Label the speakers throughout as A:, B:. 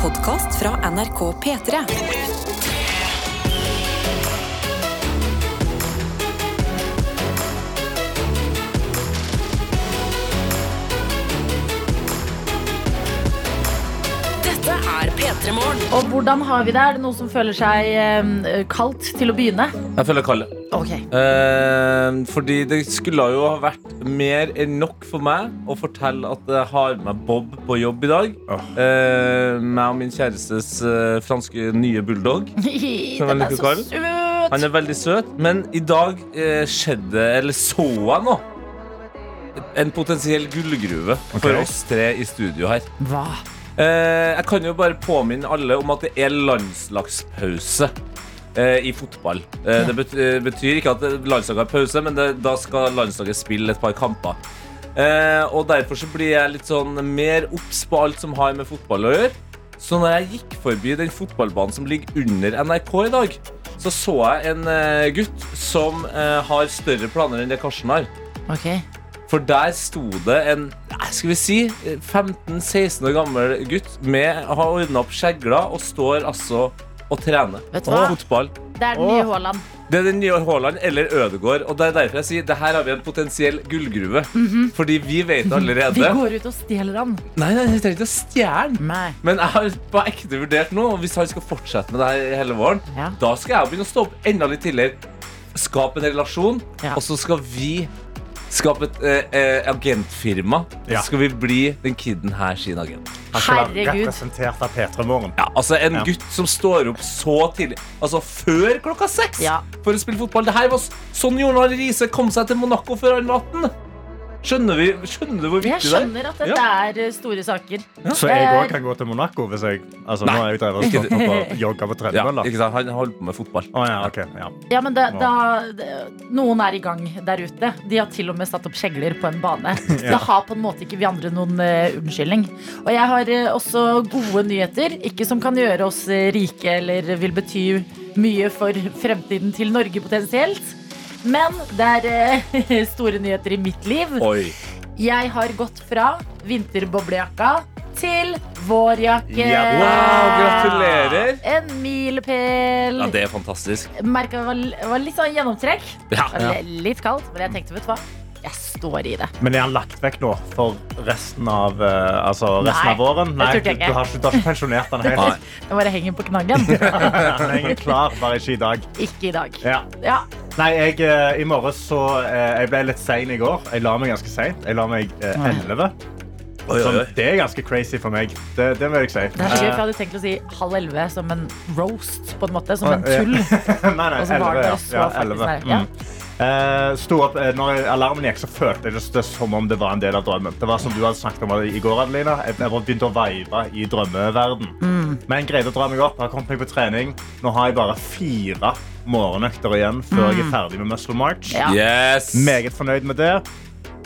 A: podkast fra NRK P3. Dette er P3 Morgen.
B: Og hvordan har vi det? Er det noen som føler seg eh, kaldt til å begynne?
C: Jeg føler Kalle.
B: Ok.
C: Eh, fordi det skulle jo ha vært mer enn nok for meg å fortelle at jeg har med Bob på jobb i dag. Eh, meg og min kjærestes eh, franske nye bulldog.
B: Den
C: like
B: er så
C: kald? Han
B: søt!
C: er veldig søt, men i dag eh, skjedde, eller så jeg nå, en potensiell gullgruve for oss tre i studio her.
B: Hva?
C: Eh, jeg kan jo bare påminne alle om at det er landslagspause eh, i fotball. Eh, det bet eh, betyr ikke at landslaget har pause, men det, da skal landslaget spille et par kamper. Eh, og derfor så blir jeg litt sånn mer obs på alt som har med fotball å gjøre. Så når jeg gikk forbi den fotballbanen som ligger under NRK i dag, så så jeg en eh, gutt som eh, har større planer enn det Karsten har.
B: Ok.
C: For der sto det en nei, skal vi si, 15-16 år gammel gutt med har ordna opp skjegla og står altså og trener
B: Vet du hva?
C: fotball.
B: Det er den nye Haaland.
C: Det er den nye Haaland eller Ødegaard. Og det er derfor jeg sier det her har vi en potensiell gullgruve. Fordi vi vet
B: Mhm. Vi
C: allerede
B: går ut og stjeler han.
C: Nei, nei, jeg trenger ikke å stjerne.
B: Nei.
C: Men jeg har på ekte vurdert nå, og hvis han skal fortsette med det her hele våren,
B: Ja.
C: da skal jeg begynne å stå opp enda litt tidligere. Skape en relasjon,
B: Ja.
C: og så skal vi skape et eh, eh, agentfirma. Og
D: Ja.
C: så skal vi bli den kiden her sin agent.
D: Han skal være
B: Herregud.
D: representert av P3 Morgen.
C: Ja, altså En
D: Ja.
C: gutt som står opp så tidlig, altså før klokka seks,
B: Ja.
C: for å spille fotball. Det her var s- sånn Jon Arild Riise kom seg til Monaco før han var 18. Skjønner, vi, skjønner du hvor
B: Jeg
C: viktig det er?
B: skjønner at dette er eh, store saker. Eh,
D: Så jeg òg kan gå til Monaco hvis jeg altså, Nå er jeg drevet og
C: Eh. ikke
D: stått opp og jogga på
C: Ja,
D: tredjemølla.
C: ikke sant? Han holder på med fotball.
D: Å ja, ok. Ja.
B: Ja, men da, da, det- noen er i gang der ute. De har til og med satt opp skjegler på en bane.
D: Ja.
B: Da har på en måte ikke vi andre noen eh, unnskyldning. Og jeg har eh, også gode nyheter. Ikke som kan gjøre oss eh, rike eller vil bety mye for fremtiden til Norge potensielt. Men det er eh, store nyheter i mitt liv.
C: Oi.
B: Jeg har gått fra vinterboblejakka til vårjakke.
D: Ja,
C: Wow, gratulerer.
B: En milepæl.
C: Ja, det er fantastisk.
B: Merket det var, det var litt sånn gjennomtrekk.
C: Ja.
B: Det var Litt kaldt, men jeg tenkte, vet du hva? Jeg står i det.
D: Men er han lagt vekk nå for resten av, eh, altså, resten
B: Nei,
D: av våren?
B: det
D: Nei,
B: tror
D: du,
B: jeg ikke.
D: du, har ikke, du har ikke pensjonert han
C: Nei.
D: helt.
B: Nå bare henger den på knaggen.
D: Han er klar, bare ikke i dag.
B: Ikke i dag.
D: Ja.
B: Ja,
D: Nei, jeg, eh, i morges så eh, Jeg ble litt sein i går. Jeg la meg ganske seint. Jeg la meg eh, 11.
C: Oi, oi,
D: Sånn,
C: oi.
D: det er ganske crazy for meg. Det, det må jeg si.
B: det er så gøy, for Jeg hadde tenkt å si halv elleve som en roast, på en måte. Som en
D: Å, Ah, ja.
B: tull.
D: nei, nei,
B: Og så var
D: 11,
B: det
D: ja.
B: så
D: ja,
B: faktisk
D: 11.
B: der, ja.
D: Mm. Eh, sto opp, eh, når alarmen gikk, så følte jeg det, det som om det var en del av drømmen. Det var som du hadde snakket om i går, Adelina. Jeg, jeg bare begynte å vibe i drømmeverden. Men greide å dra meg opp. Har kommet meg på trening. Nå har jeg bare fire morgenøkter igjen før jeg er ferdig med Muscle March.
B: Mm. Ja.
C: Yes!
D: Meget fornøyd med det.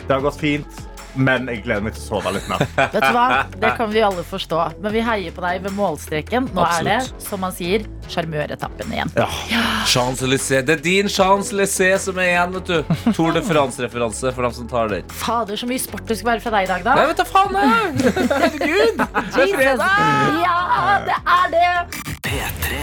D: Det har gått fint, men jeg gleder meg til å sove litt mer.
B: Vet du hva? Det kan vi alle forstå. Men vi heier på deg ved målstreken. Nå er det,
C: Absolutt.
B: som man sier, sjarmøretappen igjen.
C: Champs-Élysées. Det er din Champs-Élysées som er igjen, vet du. Tour de France-referanse for dem som tar den.
B: Fader, så mye sport det skulle være fra deg i dag, da.
C: Nei, vet du faen, jeg!
B: Jesus. Ja, det er det!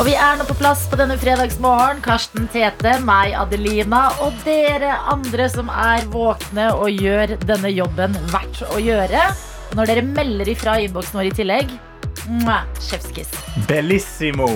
B: Og vi er nå på plass på denne fredagsmorgen. Karsten Tete, meg, Adelina og dere andre som er våkne og gjør denne jobben verdt å gjøre. Når dere melder ifra i innboksen vår i tillegg, mwah, chefskiss.
D: Bellissimo.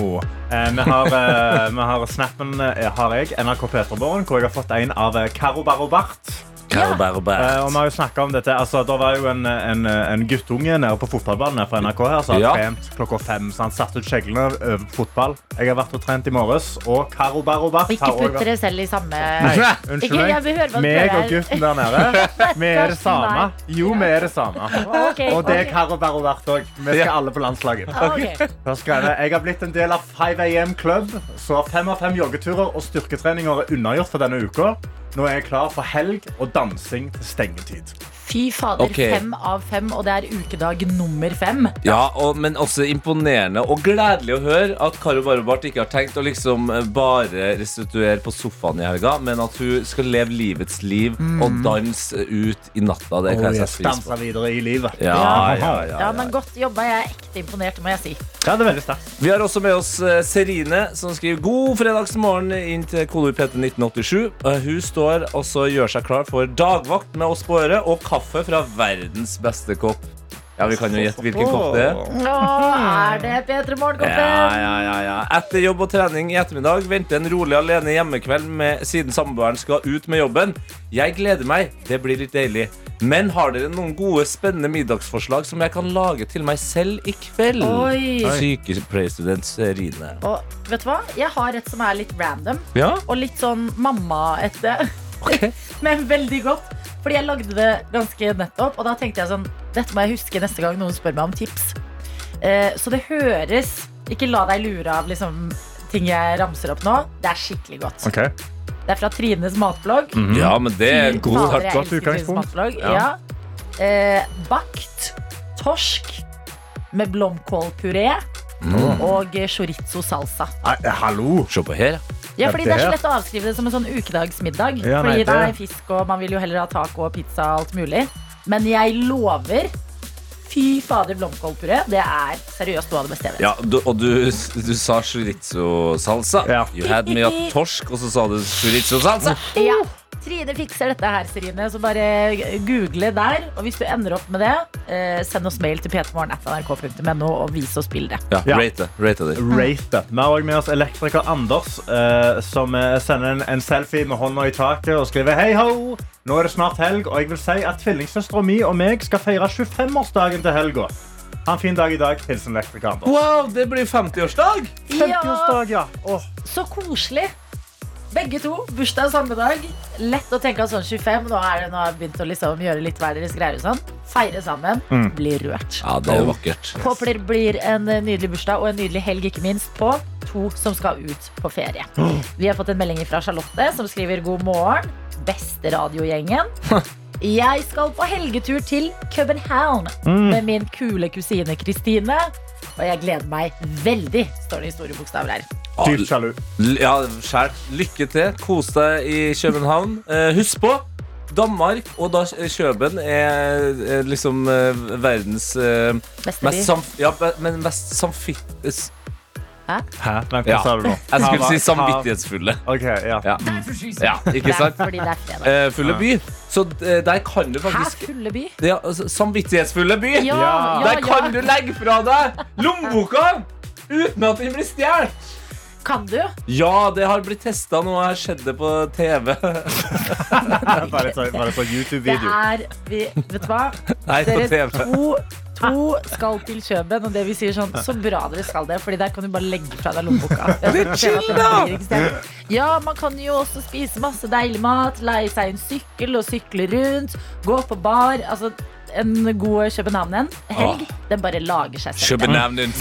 D: Eh, vi har, eh, vi har snappen eh, har jeg, NRK Peterborgen, hvor jeg har fått en av eh, Caro Barobart.
C: Carl Berbert.
D: Eh, og vi har jo snakket om dette. Altså, da var jo en, en, en guttunge nede på fotballbanen her fra NRK her, som hadde
C: Ja.
D: trent klokka fem. Så han satte ut kjeglene over på fotball. Jeg har vært og trent i morges, og Caro Barobart
B: Og ikke
D: har
B: putt
D: også vært
B: dere selv i samme
D: Nei, unnskyld
B: Ikke- jeg vil høre hva du
D: meg. Meg
B: gjør
D: og
B: her.
D: gutten der nede, vi er det samme. Jo, vi er det samme.
B: Ok,
D: Og det er
B: ok. Ah,
D: Caro Barobart òg. Vi skal alle på landslaget.
B: Ok.
D: Da skrev jeg jeg har blitt en del av 5 AM Club, så fem av fem joggeturer og styrketreninger er unnagjort for denne uka. Nå er jeg klar for helg og dansing til stengetid.
B: Fy fader,
C: Ok.
B: fem av fem, og det er ukedag nummer fem.
C: Ja, og, men også imponerende og gledelig å høre at Karo Barbart ikke har tenkt å liksom eh, bare restituere på sofaen i helga, men at hun skal leve livets liv og danse ut i natta. Det kan jeg sette pris
D: Danse
C: på.
D: videre i livet.
C: Ja, ja, ja,
B: Ja,
C: ja.
B: men godt jobba. Jeg er ekte imponert, må jeg si.
D: Ja, det er veldig sterkt.
C: Vi har også med oss eh, Serine, som skriver god fredagsmorgen inn til kodord PT 1987. Eh, Hun står og så gjør seg klar for dagvakt med oss på øret og kaffe fra verdens beste kopp. Ja, vi kan jo gjette hvilken kopp det er.
B: Nå er det P3
C: Ja,
B: Morgenkoppen.
C: ja, ja, ja. Etter jobb og trening i ettermiddag venter en rolig alene hjemmekveld med, siden samboeren skal ut med jobben. Jeg gleder meg. Det blir litt deilig. Men har dere noen gode, spennende middagsforslag som jeg kan lage til meg selv i kveld?
B: Oi.
C: Sykepleierstudent Serine.
B: Og vet du hva? Jeg har et som er litt random,
C: Ja?
B: og litt sånn mamma-ette,
C: Ok.
B: men veldig godt. Fordi jeg lagde det ganske nettopp, og da tenkte jeg sånn Dette må jeg huske neste gang noen spør meg om tips. Eh, så det høres Ikke la deg lure av liksom, ting jeg ramser opp nå. Det er skikkelig godt.
D: Okay.
B: Det er fra Trines matblogg.
C: Mhm. Ja, men det er en
B: Fy
C: Eh, god
B: fader, jeg
C: start.
D: godt
B: elsker
D: utgangspunkt.
B: tidsmatblogg,
C: Ja.
B: Ja. Eh, bakt torsk med blomkålpuré
D: Mm.
B: og chorizo salsa.
D: Nei, hallo!
C: Se på her. ja.
B: Ja,
D: Ja,
B: fordi det er så
D: det-
B: lett å avskrive det som en sånn ukedagsmiddag.
D: Ja, nei,
B: fordi det er
D: det-
B: fisk, og man vil jo heller ha taco og pizza og alt mulig. Men jeg lover Fy fader, blomkålpuré. Det er seriøst noe av det beste jeg vet.
C: Ja, du, og du, du sa chorizo-salsa.
D: Ja.
C: You had me at torsk, og så sa du chorizo-salsa.
B: Ja. Trine fikser dette her, Serine, så bare google der. Og hvis du ender opp med det, eh, send oss mail til ptmorgen.nrk.no og vis oss bildet.
C: Ja,
D: Ja.
C: rate det. Rate det.
D: Rate det. Vi har også med oss elektriker Anders, eh, som eh, sender en, en selfie med hånda i taket og skriver Hei ho! Nå er det snart helg, og jeg vil si at tvillingsøstera mi og meg skal feire 25-årsdagen til helga. Ha en fin dag i dag. Hilsen elektriker Anders.
C: Wow, det blir 50-årsdag!
D: 50-årsdag, ja. Åh,
B: Så koselig. Begge to. Bursdag samme dag. Lett å tenke at sånn 25, nå er det nå har jeg begynt å liksom gjøre litt hver deres greier og sånn. Feire sammen.
E: Mm.
C: Mm.
B: Bli rørt.
C: Ja, det er vakkert.
B: Håper det blir en eh, nydelig bursdag og en nydelig helg, ikke minst, på to som skal ut på ferie. Vi har fått en melding fra Charlotte, som skriver god morgen. Beste radiogjengen. Jeg skal på helgetur til København
C: Mm.
B: med min kule kusine Kristine. Og jeg gleder meg veldig, står det i store bokstaver her.
D: Dypt sjalu.
C: L- Ja, skjært. Lykke til. Kos deg i København. Eh, husk på Danmark og da eh, Kjøben er eh, liksom eh, verdens eh,
B: Beste by.
C: mest samf... Ja, be- men mest samfitt... s-
D: Hæ? Blank,
C: Ja.
D: Hva sa du nå?
C: Jeg skulle
D: Ha-
C: si
D: ha-
C: samvittighetsfulle.
D: Ok, ja.
C: Ja, ja
B: Det
C: ikke
B: er
C: sant?
B: Fordi det er fredag.
C: Eh, fulle by. Så eh, der kan du
B: Hæ,
C: faktisk
B: fulle by?
C: ja, altså, Samvittighetsfulle by!
B: Ja,
D: Ja.
B: ja,
C: Der kan du
B: ja.
C: legge fra deg lommeboka uten at den blir stjålet!
B: Kan du?
C: Ja, det har blitt testa nå. Jeg har sett det på TV.
D: Var det så- var det på
B: Det
D: YouTube-video?
B: er vi, Vet du hva?
C: Nei, på
B: Dere
C: TV.
B: to, to skal til Kjøben, og det vi sier sånn Så bra dere skal det, Fordi der kan du bare legge fra deg lommeboka.
C: chill, da!
B: Ja, man kan jo også spise masse deilig mat, leie seg en sykkel og sykle rundt, gå på bar. Altså en god København-helg. Den bare lager seg selv.
C: København din.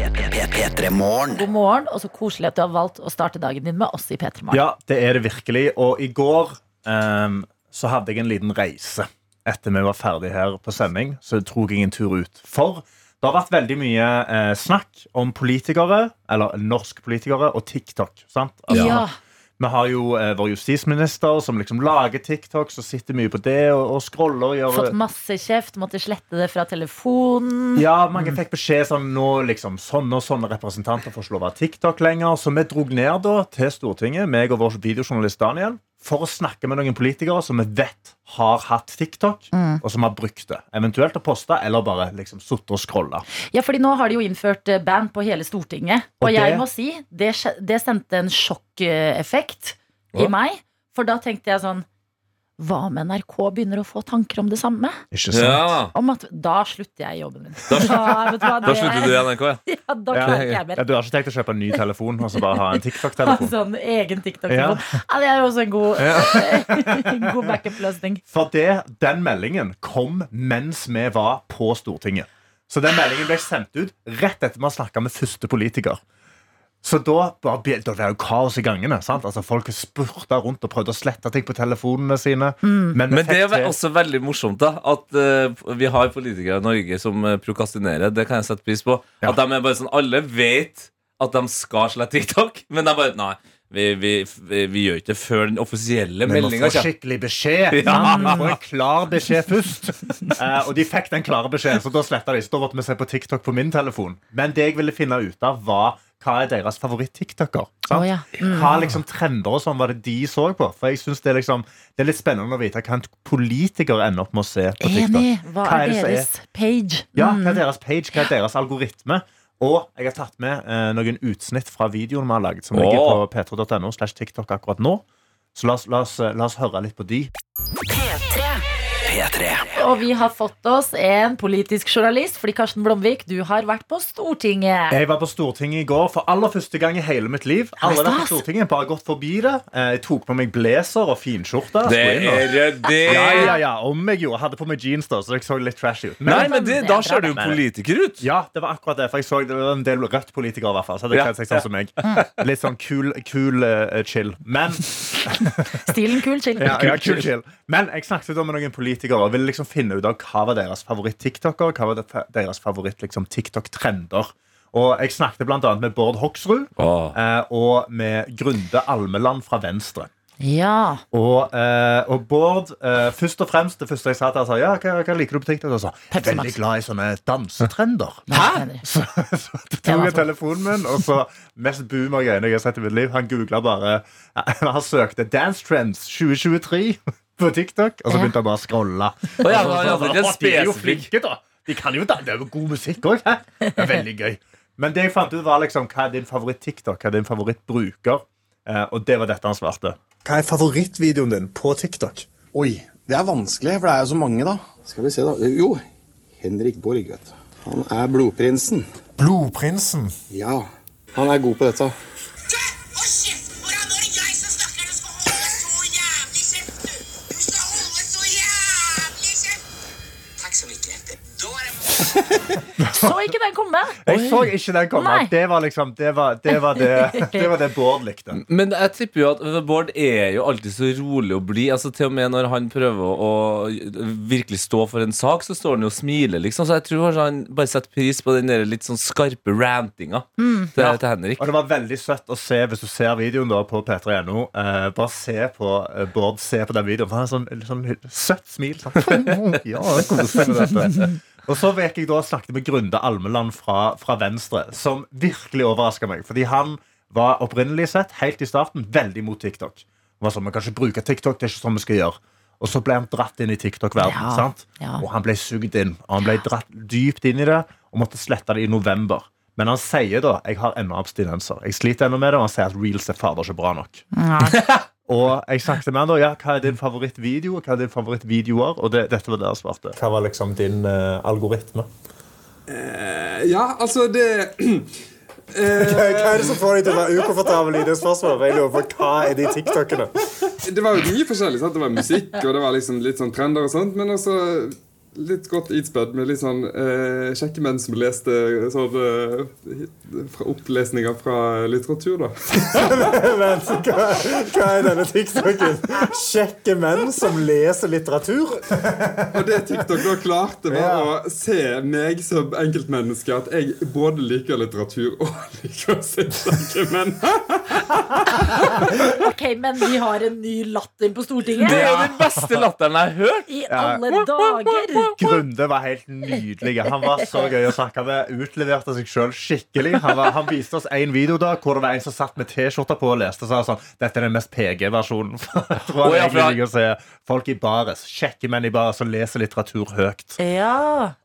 B: God morgen, og så koselig at du har valgt å starte dagen din med oss i P3 Morgen.
D: Ja, det er det virkelig. Og i går ehm, så hadde jeg en liten reise. Etter vi var ferdig her på sending, så tok jeg en tur ut. For det har vært veldig mye eh, snakk om politikere, eller norsk politikere, og TikTok. sant? Altså,
B: Ja.
D: Vi har jo eh, vår justisminister som liksom lager TikTok, som sitter mye på det og, og scroller. og
B: Fått
D: gjør...
B: masse kjeft, måtte slette det fra telefonen.
D: Ja, mange fikk beskjed sånn nå liksom, sånne og sånne representanter får ikke lov å ha TikTok lenger. Så vi drog ned da til Stortinget, meg og vår videojournalist Daniel, for å snakke med noen politikere som vi vet har hatt TikTok,
B: Mm.
D: og som har brukt det. Eventuelt å poste, eller bare liksom sitte og scrolle.
B: Ja, fordi nå har de jo innført eh, ban på hele Stortinget. Og,
D: Og
B: jeg
D: det-
B: må si, det, skje- det sendte en sjokkeffekt i
C: Hva?
B: meg. For da tenkte jeg sånn Hva om NRK begynner å få tanker om det samme?
D: Ikke sant?
C: Ja,
B: Om at Da slutter jeg i jobben min.
C: Da-
B: vet du hva,
C: da
B: det-
C: slutter du i NRK. ja.
B: Ja, da
D: Ja.
B: klarer ikke jeg mer.
D: Ja, du har ikke tenkt å kjøpe en ny telefon og så bare ha en
B: Ha
D: TikTok-telefon?
B: sånn egen TikTok-telefon.
D: Ja.
B: Ja, det er jo også en god, en god backup-løsning.
D: For det, den meldingen kom mens vi var på Stortinget. Så den meldingen ble sendt ut rett etter vi har snakka med første politiker. Så da, bare, be- da ble det jo kaos i gangene. Sant? Altså, folk spurta rundt og prøvde å slette ting på telefonene sine. Men, vi
C: Men det er
D: fikk
C: vel
D: til-
C: også veldig morsomt da at eh, vi har politikere i Norge som eh, prokastinerer. Det kan jeg sette pris på.
D: Ja.
C: At de er bare sånn Alle vet at de skal slette TikTok, men de bare Nei, vi, vi, vi, vi gjør ikke det før den offisielle
D: Vi må
C: meldinga
D: få
C: kommer.
D: skikkelig beskjed.
C: Ja.
D: sant? Vi får en klar beskjed først. Eh, og de fikk den klare beskjeden, så da sletta de. Så da måtte vi se på TikTok på min telefon. Men det jeg ville finne ut av, var hva er deres favoritt-TikToker? sant?
B: Å, ja. Mm.
D: Hva liksom trender og sånn var det de så på? For jeg synes det, er liksom, det er litt spennende å vite hva en politiker ender opp med å se på TikTok.
B: Enig. Hva
D: Hva er
B: er
D: det som er-
B: deres page? Mm.
D: Ja, hva er deres page, hva er deres algoritme? Og jeg har tatt med eh, noen utsnitt fra videoen vi har lagd, som ligger på
C: Åh.
D: p3.no slash TikTok akkurat nå. Så la oss, la, oss, eh, la oss høre litt på de.
B: Og vi har fått oss en politisk journalist, fordi Karsten Blomvik, du har vært på Stortinget.
D: Jeg var på Stortinget i går for aller første gang i hele mitt liv. Alle vært på
B: stas.
D: Stortinget, bare gått forbi det. Eh, Jeg tok på meg blazer og finskjorte.
C: Det
D: skulle inn og-
C: er ryddig!
D: Ja, ja, ja, om jeg gjorde. Hadde på meg jeans, da, så jeg så litt trash ut. Men,
C: Nei, men det, da ser du jo
D: Nei, nei.
C: politiker ut.
D: ja, det var akkurat det, for jeg så det var en del rødt politikere, i hvert fall. Så hadde
C: Ja,
D: kledd seg sånn som meg. Litt sånn kul, kul eh, chill. Men
B: Stilen kul, chill.
D: Ja, ja, kul, chill. Men jeg snakket da med noen politikere og ville liksom finne ut av hva var deres favoritt-TikToker, hva var det- deres favoritt-TikTok-trender. Og jeg snakket blant annet med Bård Hoksrud
C: Åh.
D: eh, og med Grunde Almeland fra Venstre.
B: Ja.
D: Og, eh, og Bård, eh, først og fremst, det første jeg sa til han, sa ja, hva, hva liker du på TikTok? Og så, jeg er
B: Pepsi Max.
D: veldig glad i sånne dansetrender.
B: Hæ?
D: Så, så
B: Ja,
D: tok
B: hva
D: jeg
B: for-
D: telefonen min, og så mest boomer greiene jeg har sett i mitt liv. Han googlet bare Han søkte 'Dance Trends 2023' på TikTok, og så
B: Ja.
D: begynte han bare å scrolle.
C: Å ja,
D: Og
C: ja,
D: så-
C: ja,
D: så-
C: det er
D: «Å, de er jo
C: spesifikk.
D: flinke, da! De kan jo da, Det er jo god musikk òg. Det er veldig gøy. Men det jeg fant ut, var liksom hva er din favoritt-TikTok, hva er din favorittbruker? Eh, og det var dette han svarte.
F: Hva er favorittvideoen din på TikTok?
G: Oi, det er vanskelig, for det er jo så mange, da. Skal vi se, da. Jo, Henrik Borg, vet du. Han er blodprinsen.
F: Blodprinsen.
G: Ja, han er god på dette.
E: Hold kjeft på deg! Nå er det jeg som snakker! Du skal holde så jævlig kjeft, du! Du skal holde så jævlig kjeft! Takk så mye. Da er det
B: Så ikke den komme.
D: Jeg så ikke den komme.
B: Nei.
D: Det var liksom Det var det, var det, det, var det Bård likte.
C: Men jeg tipper jo at Bård er jo alltid så rolig og blid. Altså, til og med når han prøver å virkelig stå for en sak, så står han jo og smiler, liksom. Så jeg tror kanskje han bare setter pris på den der litt sånn skarpe rantinga til, til Henrik.
D: Og det var veldig søtt å se hvis du ser videoen da på p3.no. Eh, bare se på eh, Bård se på den videoen. For han har sånn, litt sånn litt søtt smil. Sånn. Ja, jeg koser meg med dette. Og så gikk jeg da og snakket med Grunde Almeland fra, fra Venstre, som virkelig overraska meg. Fordi han var opprinnelig sett, helt i starten, veldig mot TikTok. Han var sånn, vi kan ikke bruke TikTok, det er ikke sånn vi skal gjøre. Og så ble han dratt inn i TikTok-verden.
B: Ja,
D: sant?
B: ja.
D: Og han ble sugd inn. Og han ble dratt dypt inn i det og måtte slette det i november. Men han sier da jeg har ennå abstinenser. Jeg sliter ennå med det, og han sier at reels er fader ikke bra nok. og jeg snakket med han da, ja, hva er din favorittvideo, hva er din favorittvideoer? Og det, dette var det han svarte. Hva var liksom din
F: eh,
D: algoritme?
H: Ja, altså det
F: Hva er det som får deg til å være ukomfortabel i det spørsmålet? Jeg lurer på, Hva er de TikTokene?
H: Det var jo mye forskjellig. sant? Det var musikk, og det var liksom litt sånn trender og sånt. Men også litt godt ispedd med litt sånn eh, kjekke menn som leste sånn eh, fra opplesninger fra litteratur, da.
F: Men hva, hva er denne TikToken? Kjekke menn som leser litteratur?
H: Og det TikTok da klarte, var å se meg som enkeltmenneske at jeg både liker litteratur og liker å se kjekke menn.
B: Ok, men vi har en ny latter på Stortinget.
C: Det er jo den beste latteren jeg har hørt!
B: I alle dager.
D: Grunde var helt nydelig. Han var så gøy å snakke med. Utleverte seg sjøl skikkelig. Han, var, han viste oss en video da hvor det var en som satt med T-skjorta på og leste. Så han sånn, Dette er den mest PG-versjonen. Jeg tror
C: Å, ja,
D: han
C: for
D: egentlig
C: han-
D: liker å se folk i bares. Kjekke menn i bares som leser litteratur høyt.
B: Ja.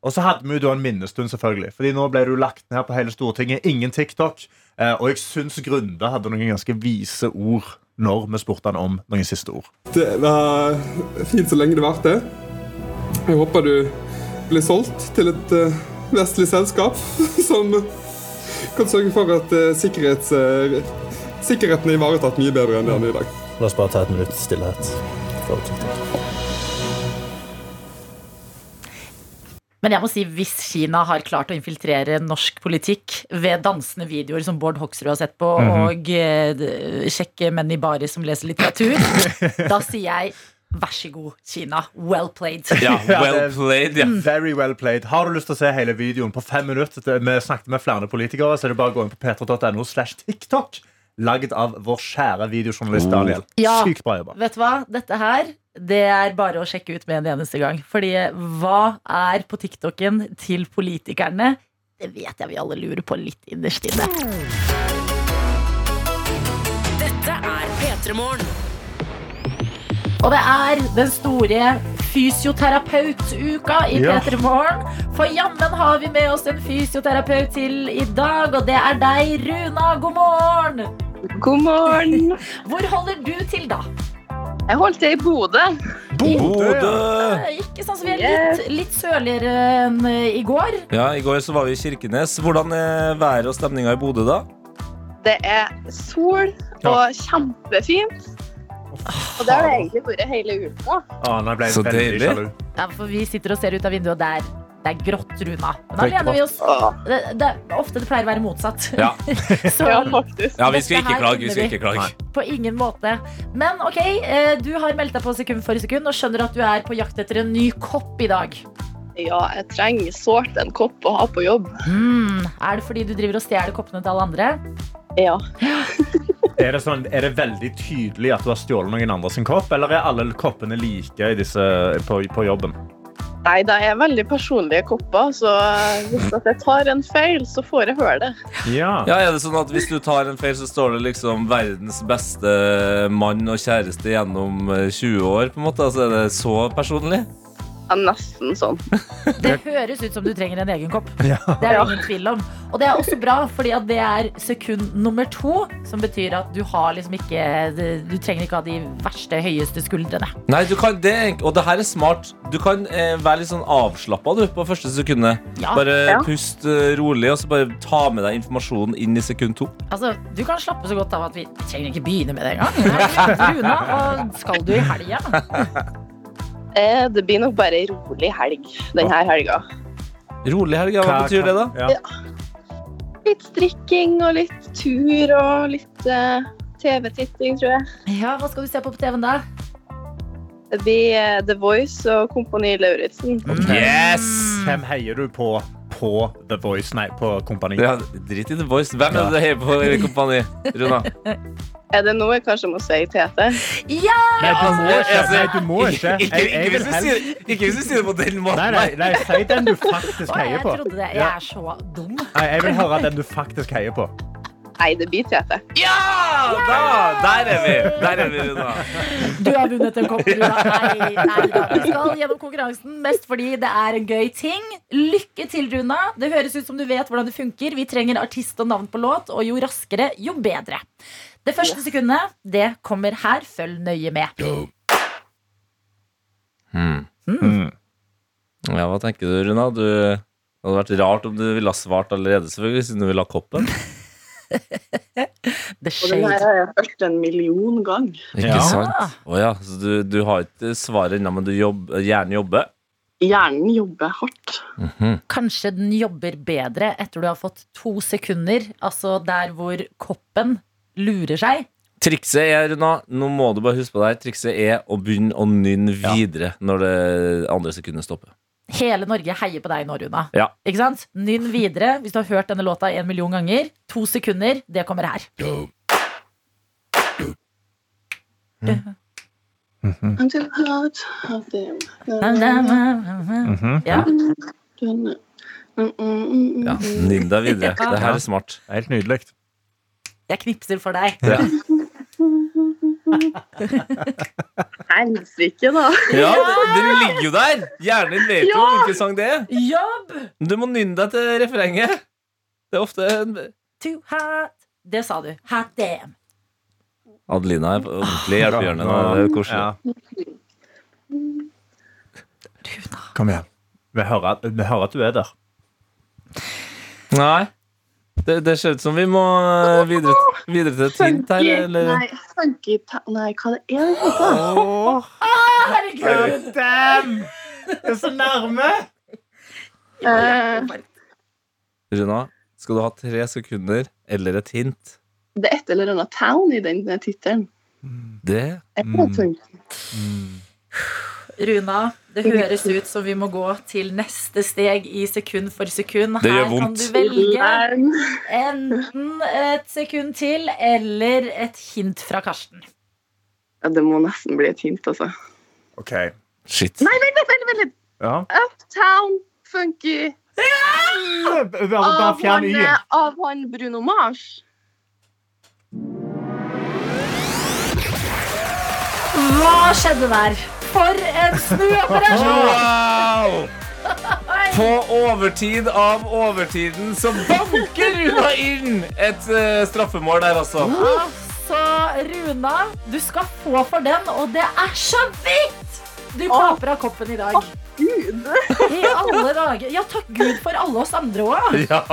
D: Og så hadde vi jo da en minnestund, selvfølgelig. Fordi nå ble du lagt ned på hele Stortinget. Ingen TikTok. Eh, og jeg syns Grunde hadde noen ganske vise ord når vi spurte han om noen siste ord.
H: Det var fint så lenge det varte. Jeg håper du blir solgt til et eh, vestlig selskap som kan sørge for at eh, sikkerhets, eh, sikkerheten er ivaretatt mye bedre enn den er i dag.
F: La oss bare ta et minutts stillhet.
B: Men jeg må si, hvis Kina har klart å infiltrere norsk politikk ved dansende videoer som Bård Hoksrud har sett på,
D: Mhm.
B: og eh, d- kjekke menn i barer som leser litteratur, da sier jeg vær så god, Kina. Well played.
C: Ja, well
D: det- Mm.
C: played. Ja.
D: Very well played. Har du lyst til å se hele videoen på fem minutter? det- Vi snakket med flere politikere, så er det bare å gå inn på petra.no slash TikTok. Lagd av vår kjære videojournalist Daniel.
B: Oh. Ja.
D: Sykt bra jobba.
B: Vet du hva? Dette her det er bare å sjekke ut med en eneste gang. Fordi hva er på TikToken til politikerne? Det vet jeg vi alle lurer på litt innerst inne.
A: Dette er P3 Morgen.
B: Og det er den store fysioterapeutuka i
D: Ja.
B: P3 Morgen. For jammen har vi med oss en fysioterapeut til i dag, og det er deg, Runa. God morgen!
I: God morgen.
B: Hvor holder du til, da?
I: Jeg holdt til i Bodø.
C: Bodø!
B: Ikke sånn som vi er litt, litt sørligere enn eh, i går.
C: Ja, I går så var vi i Kirkenes. Hvordan er været og stemninga i Bodø da?
I: Det er sol og kjempefint. Og det har det egentlig vært hele uka.
D: Ah, nå ble jeg
C: Så
D: veldig
C: deilig.
D: sjalu.
B: Ja, for vi sitter og ser ut av vinduet, og der det er grått, Runa. Men da
D: Det er
B: lener vi oss
I: Åh,
B: det, det, er Ofte det pleier å være motsatt.
C: Ja.
B: Så
I: ja, faktisk.
C: Ja, vi skal
B: Dette
C: ikke
B: her
C: klage. vi skal
B: kunne vi.
C: ikke klage.
B: på ingen måte. Men OK, eh, du har meldt deg på sekund for sekund og skjønner at du er på jakt etter en ny kopp i dag.
I: Ja, jeg trenger sårt en kopp å ha på jobb.
B: Hmm, Er det fordi du driver og stjeler koppene til alle andre?
I: Ja.
D: Er det, sånn, er det veldig tydelig at du har stjålet noen andre sin kopp, eller er alle koppene like i disse, på, på jobben?
I: Nei, det er veldig personlige kopper, så hvis at jeg tar en feil, så får jeg høre det.
D: Ja.
C: Ja, er det sånn at Hvis du tar en feil, så står det liksom 'verdens beste mann og kjæreste gjennom eh, 20 år'? på en måte, altså Er det så personlig?
I: Ja, nesten sånn.
B: Det høres ut som du trenger en egen kopp. Det er det ingen tvil om. Og det er også bra, fordi at det er sekund nummer to, som betyr at du har liksom ikke Du trenger ikke ha de verste, høyeste skuldrene.
C: Nei, du kan det, er- Og det her er smart. Du kan eh, være litt sånn avslappa du, på første sekundet.
B: Ja.
C: Bare
I: Ja.
C: pust eh, rolig, og så bare ta med deg informasjonen inn i sekund to.
B: Altså, Du kan slappe så godt av at vi vi trenger ikke begynne med det engang. Runa, og skal du i helga?
I: Eh, Det blir nok bare rolig helg denne helga.
C: Rolig helg, ja. hva betyr det, da?
D: Ja.
I: Litt strikking og litt tur og litt eh, TV-titting, tror jeg.
B: Ja, Hva skal du se på på TV-en da?
I: Det blir eh, The Voice og Kompani Lauritzen.
C: Yes!
D: Mm. Hvem heier du på på The Voice? Nei, på Kompani.
C: Ja, drit i The Voice. Hvem er det du heier på i kompani, Runa?
I: Er det noe jeg kanskje må si til Tete?
B: Ja!
D: Nei, du må ikke.
C: altså,
D: Nei, du må ikke.
C: Ikke,
D: Jeg,
C: ikke,
D: jeg
C: hvis
D: vil
C: du
D: helst
C: sier, ikke hvis du sier det på den måten.
D: Nei, nei, nei, si den du faktisk
B: Å,
D: heier
B: jeg
D: på.
B: trodde det. Jeg
D: Ja.
B: er så dum.
D: Nei, jeg vil høre den du faktisk heier på.
I: Nei, det blir Tete.
C: Ja! Da, der er vi! Der er vi, Runa.
B: Du har vunnet en kopp. Runa. Nei, nei, da. Vi skal gjennom konkurransen mest fordi det er en gøy ting. Lykke til, Runa. Det høres ut som du vet hvordan det funker. Vi trenger artist og navn på låt, og jo raskere, jo bedre. Det første sekundet, det kommer her. Følg nøye med.
C: Hmm.
D: Hmm.
C: Ja, hva tenker du, Runa? Du, det hadde vært rart om du ville ha svart allerede, selvfølgelig, siden du ville ha koppen.
B: The
I: Og den her
B: Shade.
I: har jeg hørt en million gang.
C: Ikke
D: Ja.
C: sant? Å ja, så du, du har ikke svaret ennå, men du jobb, gjerne jobber.
I: Hjernen jobber hardt.
B: Kanskje den jobber bedre etter du har fått to sekunder, altså der hvor koppen lurer seg.
C: Trikset er, Runa, nå må du bare huske på det her, trikset er å begynne å nynne videre når det andre sekundet stopper.
B: Hele Norge heier på deg nå, Runa.
C: Ja.
B: Ikke sant? Nynn videre hvis du har hørt denne låta en million ganger. To sekunder, det kommer her. Mm.
I: I'm too hot, hot damn.
B: Ja.
I: Mm, mm, mm, mm.
C: Mhm. Ja, Nynn deg videre.
B: Ja.
C: Det her er smart.
D: Helt nydelig.
B: Jeg knipser for deg.
C: Ja.
I: Helsike, da.
C: Ja, den, den ligger jo der! Hjernen din vet jo hvilken sang det er.
B: Jobb!
C: Men Du må nynne deg til refrenget. Det er ofte en
B: Too hot. Det sa du. Hot damn.
C: Adelina er på ordentlig hjelpehjørne. nå. Det er jo koselig.
D: Kom igjen. Vi hører, vi hører at du er der.
C: Nei. Det, det ser ut som vi må eh, videre, videre til et hint her.
I: Funky-
C: Eller?
I: Nei, funky ta- Nei, hva det er det heter?
B: Ah, Herregud!
D: Damn! Det er så nærme!
I: Eh,
C: Runa, skal du ha tre sekunder eller et hint?
I: det er et eller annet town i den eh, tittelen.
C: Det
I: Et eller annet town.
B: Runa, det høres ut som vi må gå til neste steg i sekund for sekund.
C: Det gjør
B: Her kan
C: vondt.
B: du velge
I: Land.
B: enten et sekund til eller et hint fra Karsten.
I: Ja, det må nesten bli et hint, altså.
D: OK.
C: Shit.
I: Vent litt, vent litt, vent litt.
D: Ja.
I: Uptown Funky
D: Bare
I: av
D: fjern
I: han, eh,
D: Y-en.
I: av han Bruno Mars.
B: Hva skjedde der? For en snuoperasjon!
C: Wow! På overtid av overtiden så banker Runa inn et eh, straffemål der, altså.
B: Altså, Runa, du skal få for den, og det er så vidt! Du kaper av koppen i dag.
I: Gud!
B: I alle dager. Ja, takk Gud for alle oss andre òg.
C: Ja.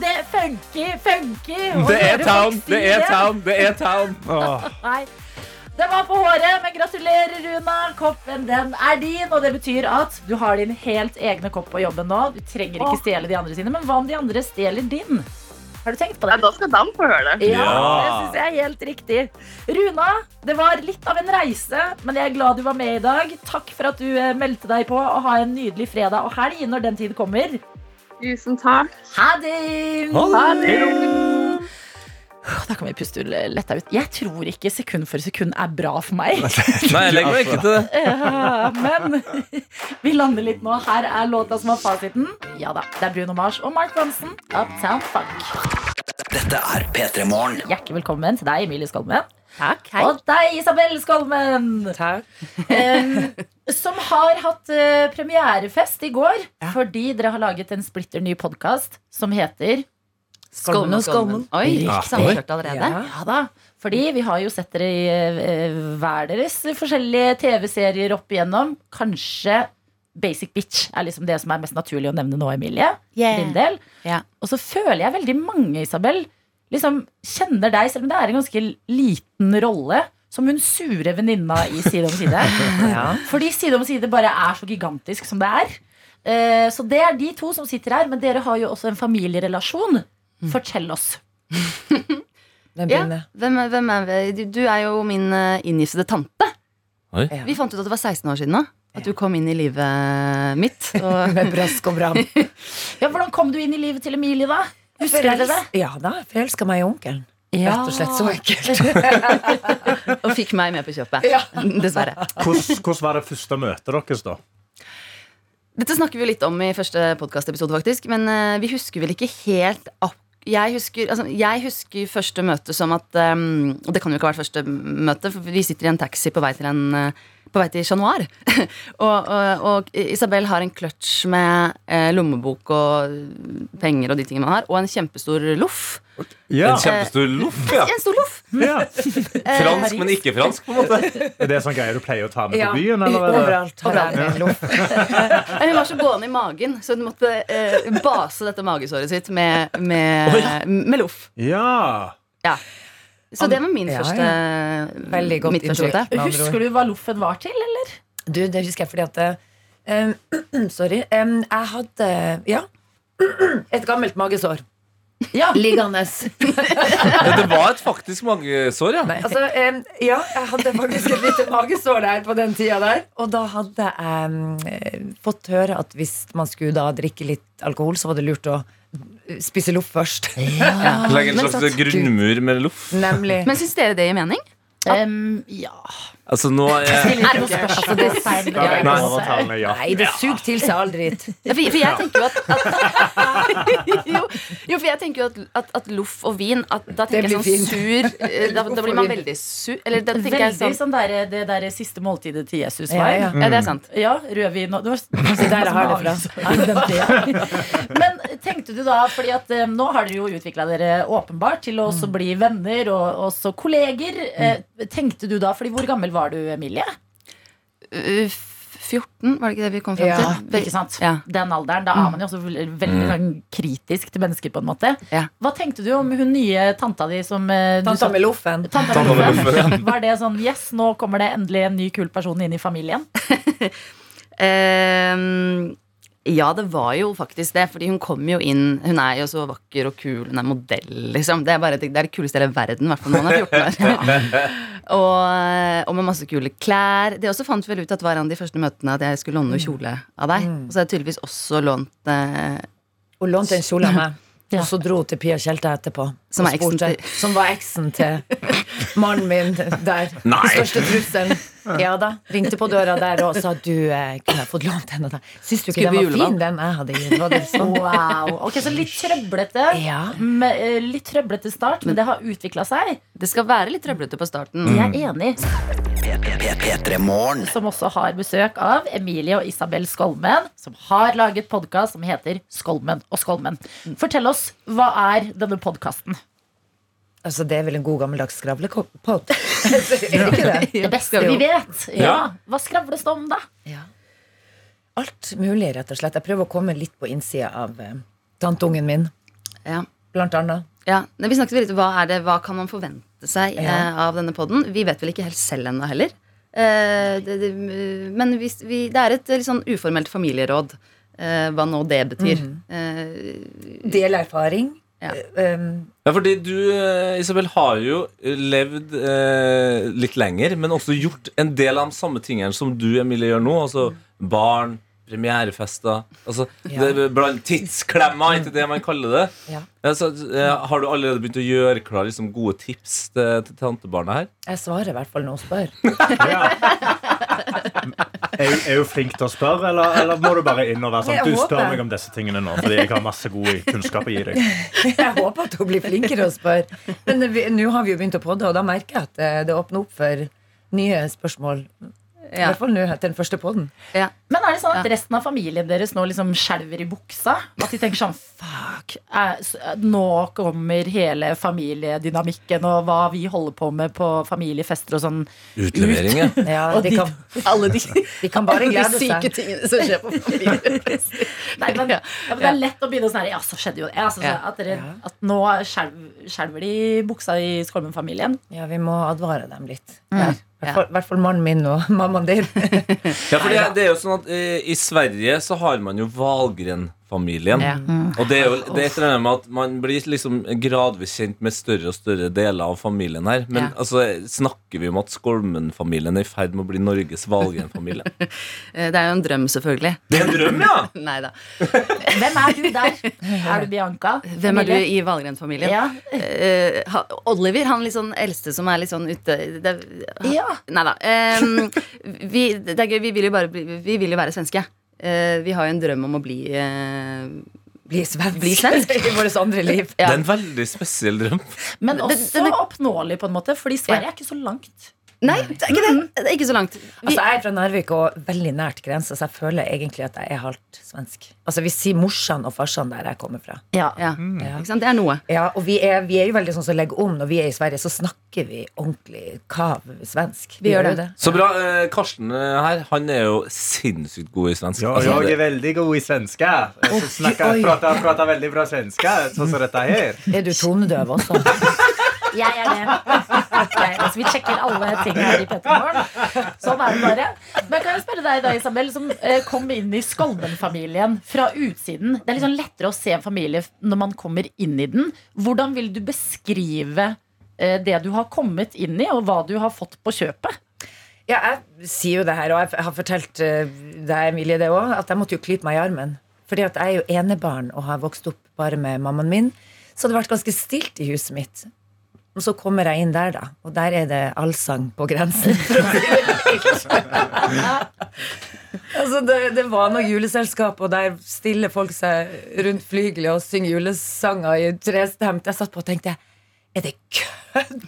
B: Det er funky, funky. å
C: Det er
B: høre
C: town,
B: folk si
C: det er town, det er town.
D: Åh.
B: Nei. Det var på håret, men gratulerer, Runa. Koppen den er din. Og det betyr at du har din helt egne kopp på jobben nå. Du trenger ikke stjele de andre sine, men hva om de andre stjeler din? Har du tenkt på
I: Ja,
B: det?
I: da skal de få høre det.
B: Ja,
C: Ja.
B: det syns jeg er helt riktig. Runa, det var litt av en reise, men jeg er glad du var med i dag. Takk for at du eh, meldte deg på, og ha en nydelig fredag og helg når den tid kommer.
I: Tusen takk.
B: Ha det!
C: Ha
B: Åh, Da kan vi puste letta ut. Jeg tror ikke sekund for sekund er bra for meg.
C: Nei, jeg legger meg ikke til det.
B: Eh, Men vi lander litt nå. Her er låta som var fasiten. Ja da, det er Bruno Mars og Mark Bronson. Uptown Funk.
J: Dette er P3 Morgen.
B: Hjertelig velkommen til deg, Emilie Skolmen.
K: Takk, hei.
B: Og deg, Isabel Skolmen.
K: Takk.
B: Em, som har hatt eh, premierefest i går fordi dere har laget en splitter ny podkast som heter
K: Skolmen og Skolmen. Oi,
B: Ja.
K: samkjørt allerede.
B: Ja da, fordi vi har jo sett dere i eh, hver deres forskjellige TV-serier opp igjennom. Kanskje Basic Bitch er liksom det som er mest naturlig å nevne nå, Emilie. for Din del.
K: Ja.
B: Og så føler jeg veldig mange, Isabel, liksom kjenner deg, selv om det er en ganske liten rolle, som hun sure venninna i Side om side. Fordi Side om side bare er så gigantisk som det er. Eh, Så det er de to som sitter her, men dere har jo også en familierelasjon. Fortell oss.
K: Hvem, hvem, er- hvem er vi? Du, du er jo min eh, inngiftede tante.
C: Oi.
K: Vi fant ut at det var 16 år siden nå. At du kom inn i livet mitt. Og Med brask og bram.
B: Ja, Hvordan kom du inn i livet til Emilie, da? Husker dere det?
K: Ja da, forelska meg i onkelen. Rett og slett så
B: ekkelt.
K: Og fikk meg med på kjøpet. Dessverre.
D: Hvordan hvordan var det første møtet deres, da?
K: Dette snakker vi jo litt om i første podkastepisode, faktisk. Men eh, vi husker vel ikke helt ak- Jeg husker, altså, jeg husker første møte som at eh, Og det kan jo ikke ha vært første møte, for vi sitter i en taxi på vei til en eh, på vei til Chat Noir. og, og, og Isabel har en kløtsj med eh, lommebok og penger og de tingene man har, og en kjempestor loff.
D: Ja.
C: En kjempestor loff, ja.
K: En stor loff!
D: ja.
C: Fransk, men ikke fransk, på en måte.
D: Er det sånn greie du pleier å ta med
K: Ja.
D: på byen? Eller? er det-
K: Overalt. Nei, Hun var så gående i magen, så hun måtte eh, base dette magesåret sitt med, med, med loff.
D: Ja.
K: Så det var min
J: Ja,
K: første
J: Veldig godt
K: mitt første
J: inntrykk.
K: møte.
B: Husker du hva loffen var til, eller?
J: Du, det husker jeg fordi at eh, Sorry. eh, jeg hadde Ja. Et gammelt magesår.
B: Ja.
J: Liggende.
C: Men det var et faktisk magesår, ja.
J: Altså, eh, ja, jeg hadde faktisk et lite magesår der på den tida der. Og da hadde jeg eh, fått høre at hvis man skulle da drikke litt alkohol, så var det lurt å spise loff først.
C: Legg en
J: Men
C: slags
J: sant.
C: grunnmur med loff.
J: Nemlig.
K: Men syns dere det gir mening?
B: Um, ja.
C: Altså, nå er jeg
B: Stiller ikke noe spørsmål. Det er feil.
D: Da vet
B: Ja,
D: jeg overtalende, ja.
J: Nei, det suger til seg all dritt.
K: Ja, For, for jeg tenker jo at, at jo, jo, for jeg tenker jo at, at, at loff og vin at, Da
J: Det
K: tenker jeg
J: blir
K: sånn sur eh, da, da blir man veldig sur. Eller da tenker jeg
B: Veldig
K: sånn
B: sånn der, det der siste måltidet til Jesus
J: Ja,
B: var. Mm.
J: ja.
K: Ja, det er sant.
B: Ja, rødvin og det var,
J: der jeg har det
B: Men tenkte du da, fordi at eh, nå har dere jo utvikla dere åpenbart til å også
J: Mm.
B: bli venner og også kolleger. Eh, tenkte du da, fordi hvor gammel var du, Emilie?
K: Uh, 14, var det ikke det vi kom fram
J: Ja,
K: til?
B: Ikke sant?
K: Ja.
B: Den alderen. Da er man jo også veldig, veldig sånn kritisk til mennesker, på en måte.
K: Ja.
B: Hva tenkte du om hun nye tanta di som eh, du
J: Tanta
B: sa-
J: med loffen.
B: Tanta
C: Tanta
B: med
C: med
B: loffen.
C: loffen,
B: Var det sånn Yes, nå kommer det endelig en ny kul person inn i familien?
K: Eh, Ja, det var jo faktisk det. Fordi hun kom jo inn Hun er jo så vakker og kul. Hun er modell, liksom. Det er, bare, det er det kuleste i hele verden, i hvert fall når man er 14 år. og, og med masse kule klær. Det også fant vi vel ut at var en av de første møtene at jeg skulle låne noe kjole av deg. Og så har jeg tydeligvis også lånt eh,
J: Hun lånte en kjole av meg. Og så dro hun til Pia Tjelte etterpå.
K: Som
J: og
K: er eksen
J: spurte-
K: til-
J: som var eksen til mannen min der. Den
K: Nei.
J: største trusselen. Ja da. Ringte på døra der og sa du eh, kunne jeg fått lånt den og den. Syns du ikke
B: Skulle
J: den var
B: på julevann?
J: fin, den jeg hadde gitt? Var det sånn?
B: Wow. Ok, Så litt trøblete. Med, eh, litt trøblete start, men det har utvikla seg.
K: Det skal være litt trøblete på starten.
B: Jeg er enig.
L: P3morgen.
B: Som også har besøk av Emilie og Isabel Skolmen, som har laget podkast som heter Skolmen og Skolmen. Fortell oss, hva er denne podkasten?
J: Altså, det er vel en god gammeldags skravlepod? er det ikke det?
B: Det beste vi vet. Ja.
J: Ja.
B: Hva skravles det om, da?
J: Alt mulig, rett og slett. Jeg prøver å komme litt på innsida av eh, tanteungen min.
K: Ja.
J: Blant annet.
K: Ja, men Vi snakket litt om hva, er det, hva kan man forvente seg
J: Ja.
K: eh, av denne podden. Vi vet vel ikke helt selv ennå heller. Eh, det, det, men hvis vi, det er et litt sånn uformelt familieråd, eh, hva nå det betyr.
B: Mm.
J: Mhm.
K: Eh,
J: Del erfaring. Eh,
B: ehm.
J: um,
C: Ja, fordi du, eh, Isabel, har jo levd eh, litt lenger, men også gjort en del av de samme tingene som du, Emilie, gjør nå. Altså barn, premierefester altså, det, Blant tidsklemmer, ikke det man kaller det.
J: Ja.
C: Ja, så, eh, har du allerede begynt å gjøre klar liksom, gode tips til, til tantebarna her?
J: Jeg svarer i hvert fall når hun spør.
D: Er, er du flink til å spørre, eller, eller må du bare inn og være
J: Jeg
D: sånn Du spør
J: håper.
D: meg om disse tingene nå, fordi jeg har masse god kunnskap å gi deg.
J: Jeg håper at hun blir flinkere å spørre. Men vi- nå har vi jo begynt å podde, og da merker jeg at eh, det åpner opp for nye spørsmål. I hvert fall nå etter den første podden.
B: Men er det sånn at resten av familien deres nå liksom skjelver i buksa? At de tenker sånn fuck, eh, s- eh, nå kommer hele familiedynamikken og hva vi holder på med på familiefester og sånn.
C: Utlevering, ja.
J: Ja,
B: og
J: de
B: de,
J: kan-
B: alle de, de
J: kan bare glede
B: syke
J: seg.
B: tingene som skjer på familiefester. Nei, men, ja, men det er lett å begynne sånn her Ja, så skjedde jo det. Ja, så, så,
J: Ja.
B: at, dere, at nå skjelv- skjelver de i buksa i Skolmen-familien.
J: Ja, vi må advare dem litt.
B: Mm.
J: I hvert fall- i hvert fall mannen min og mammaen din.
C: Ja, for det, det er jo sånn at eh, I Sverige så har man jo Valgren-familien.
J: Ja. Mm.
C: Og det er jo det er et eller annet med at man blir liksom gradvis kjent med større og større deler av familien her. Men
K: Ja.
C: altså, snakker vi om at Skolmen-familien er i ferd med å bli Norges Valgren-familie?
K: eh, det er jo en drøm, selvfølgelig.
C: Det er en drøm, ja!
K: Nei da.
B: Hvem er du der? Er du Bianca?
K: Hvem er du
B: Emilie?
K: i Valgren-familien?
B: Ja.
K: Eh, ha- Oliver, han litt sånn eldste som er litt sånn ute det,
B: Ja.
K: Nei da. Eh, vi, det er gøy, vi vil jo bare bli, vi vil jo være svenske. Eh, vi har jo en drøm om å bli eh,
J: Bli svensk.
K: Bli svensk.
J: I vårt andre liv.
C: Det er en veldig spesiell drøm.
B: Men også oppnåelig, på en måte, fordi Sverige er ikke så langt.
K: Nei, det er ikke det. Det er ikke så langt.
J: Mm. Altså, jeg er fra Narvik og veldig nært grensa, så jeg føler egentlig at jeg er halvt svensk. Altså, Vi sier morsan og farsan der jeg kommer fra.
B: Ja.
K: Ja. Det er noe.
J: Ja, og vi er, vi er jo veldig sånn som legger om. Når vi er i Sverige, så snakker vi ordentlig kav svensk.
K: Vi gjør
J: jo
K: det.
C: Så bra. eh, Karsten eh, her, han er jo sinnssykt god i svensk.
D: Ja,
C: Altså,
D: jeg
C: det-
D: er veldig god i svenske. Jeg snakker,
J: oi.
D: prater, prater veldig bra svenske, sånn som dette her.
J: Er du tonedøv også?
B: Jeg er det. Jeg, altså, vi sjekker alle ting her i Petermorgen. Sånn er det bare. Men kan jeg spørre deg da, Isabel, som eh, kom inn i Skolmen-familien fra utsiden. Det er litt sånn lettere å se en familie når man kommer inn i den. Hvordan vil du beskrive eh, det du har kommet inn i, og hva du har fått på kjøpet?
J: Ja, jeg sier jo det her, og jeg har fortalt eh, deg, Emilie, det òg, at jeg måtte jo klype meg i armen. Fordi at jeg er jo enebarn og har vokst opp bare med mammaen min. Så det har vært ganske stilt i huset mitt. Og så kommer jeg inn der, da. Og der er det allsang på grensen. For å si det mildt. altså, det, det var noe juleselskap, og der stiller folk seg rundt flygelet og synger julesanger i trestemt. Jeg satt på og tenkte er det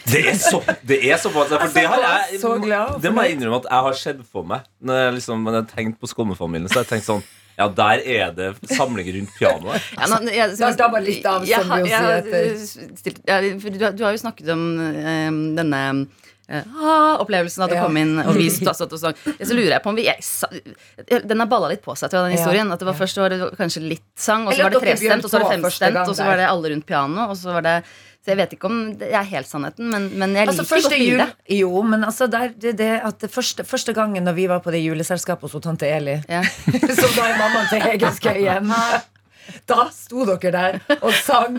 C: Det er, så, det er såpass. For det, har jeg,
J: Så glad.
C: det må jeg innrømme at jeg har sett for meg. Når jeg liksom når jeg har tenkt på Skolmen-familien, så har jeg tenkt sånn Ja, der er det samling rundt pianoet.
K: Ja, nå, jeg,
J: Da dabber litt av, som
K: jeg
J: vi
K: har-
J: jo
K: jeg
J: sier
K: har
J: etter.
K: stilt- ja, for du, har- du har jo snakket om eh, denne eh, ah, opplevelsen at det
J: Ja.
K: kom inn, og vi sto- satt og sang. Så lurer jeg på om vi jeg, sa- Den har balla litt på seg, tror jeg, den
J: Ja.
K: historien. At det var Først var det kanskje litt sang, og så
J: Eller
K: var det
J: at dere
K: trestemt, og så var det
J: begynte på første
K: femstemt,
J: gang
K: og så
J: der.
K: var det alle rundt pianoet, og så var det Så jeg vet ikke om det er helt sannheten, men, men jeg liker
J: Altså, første
K: godt
J: jul,
K: bildet.
J: jo, men altså der, det, det at det første, første gangen når vi var på det juleselskapet hos hun tante Eli, så da er mammaen til Hege Skøyen da sto dere der og sang.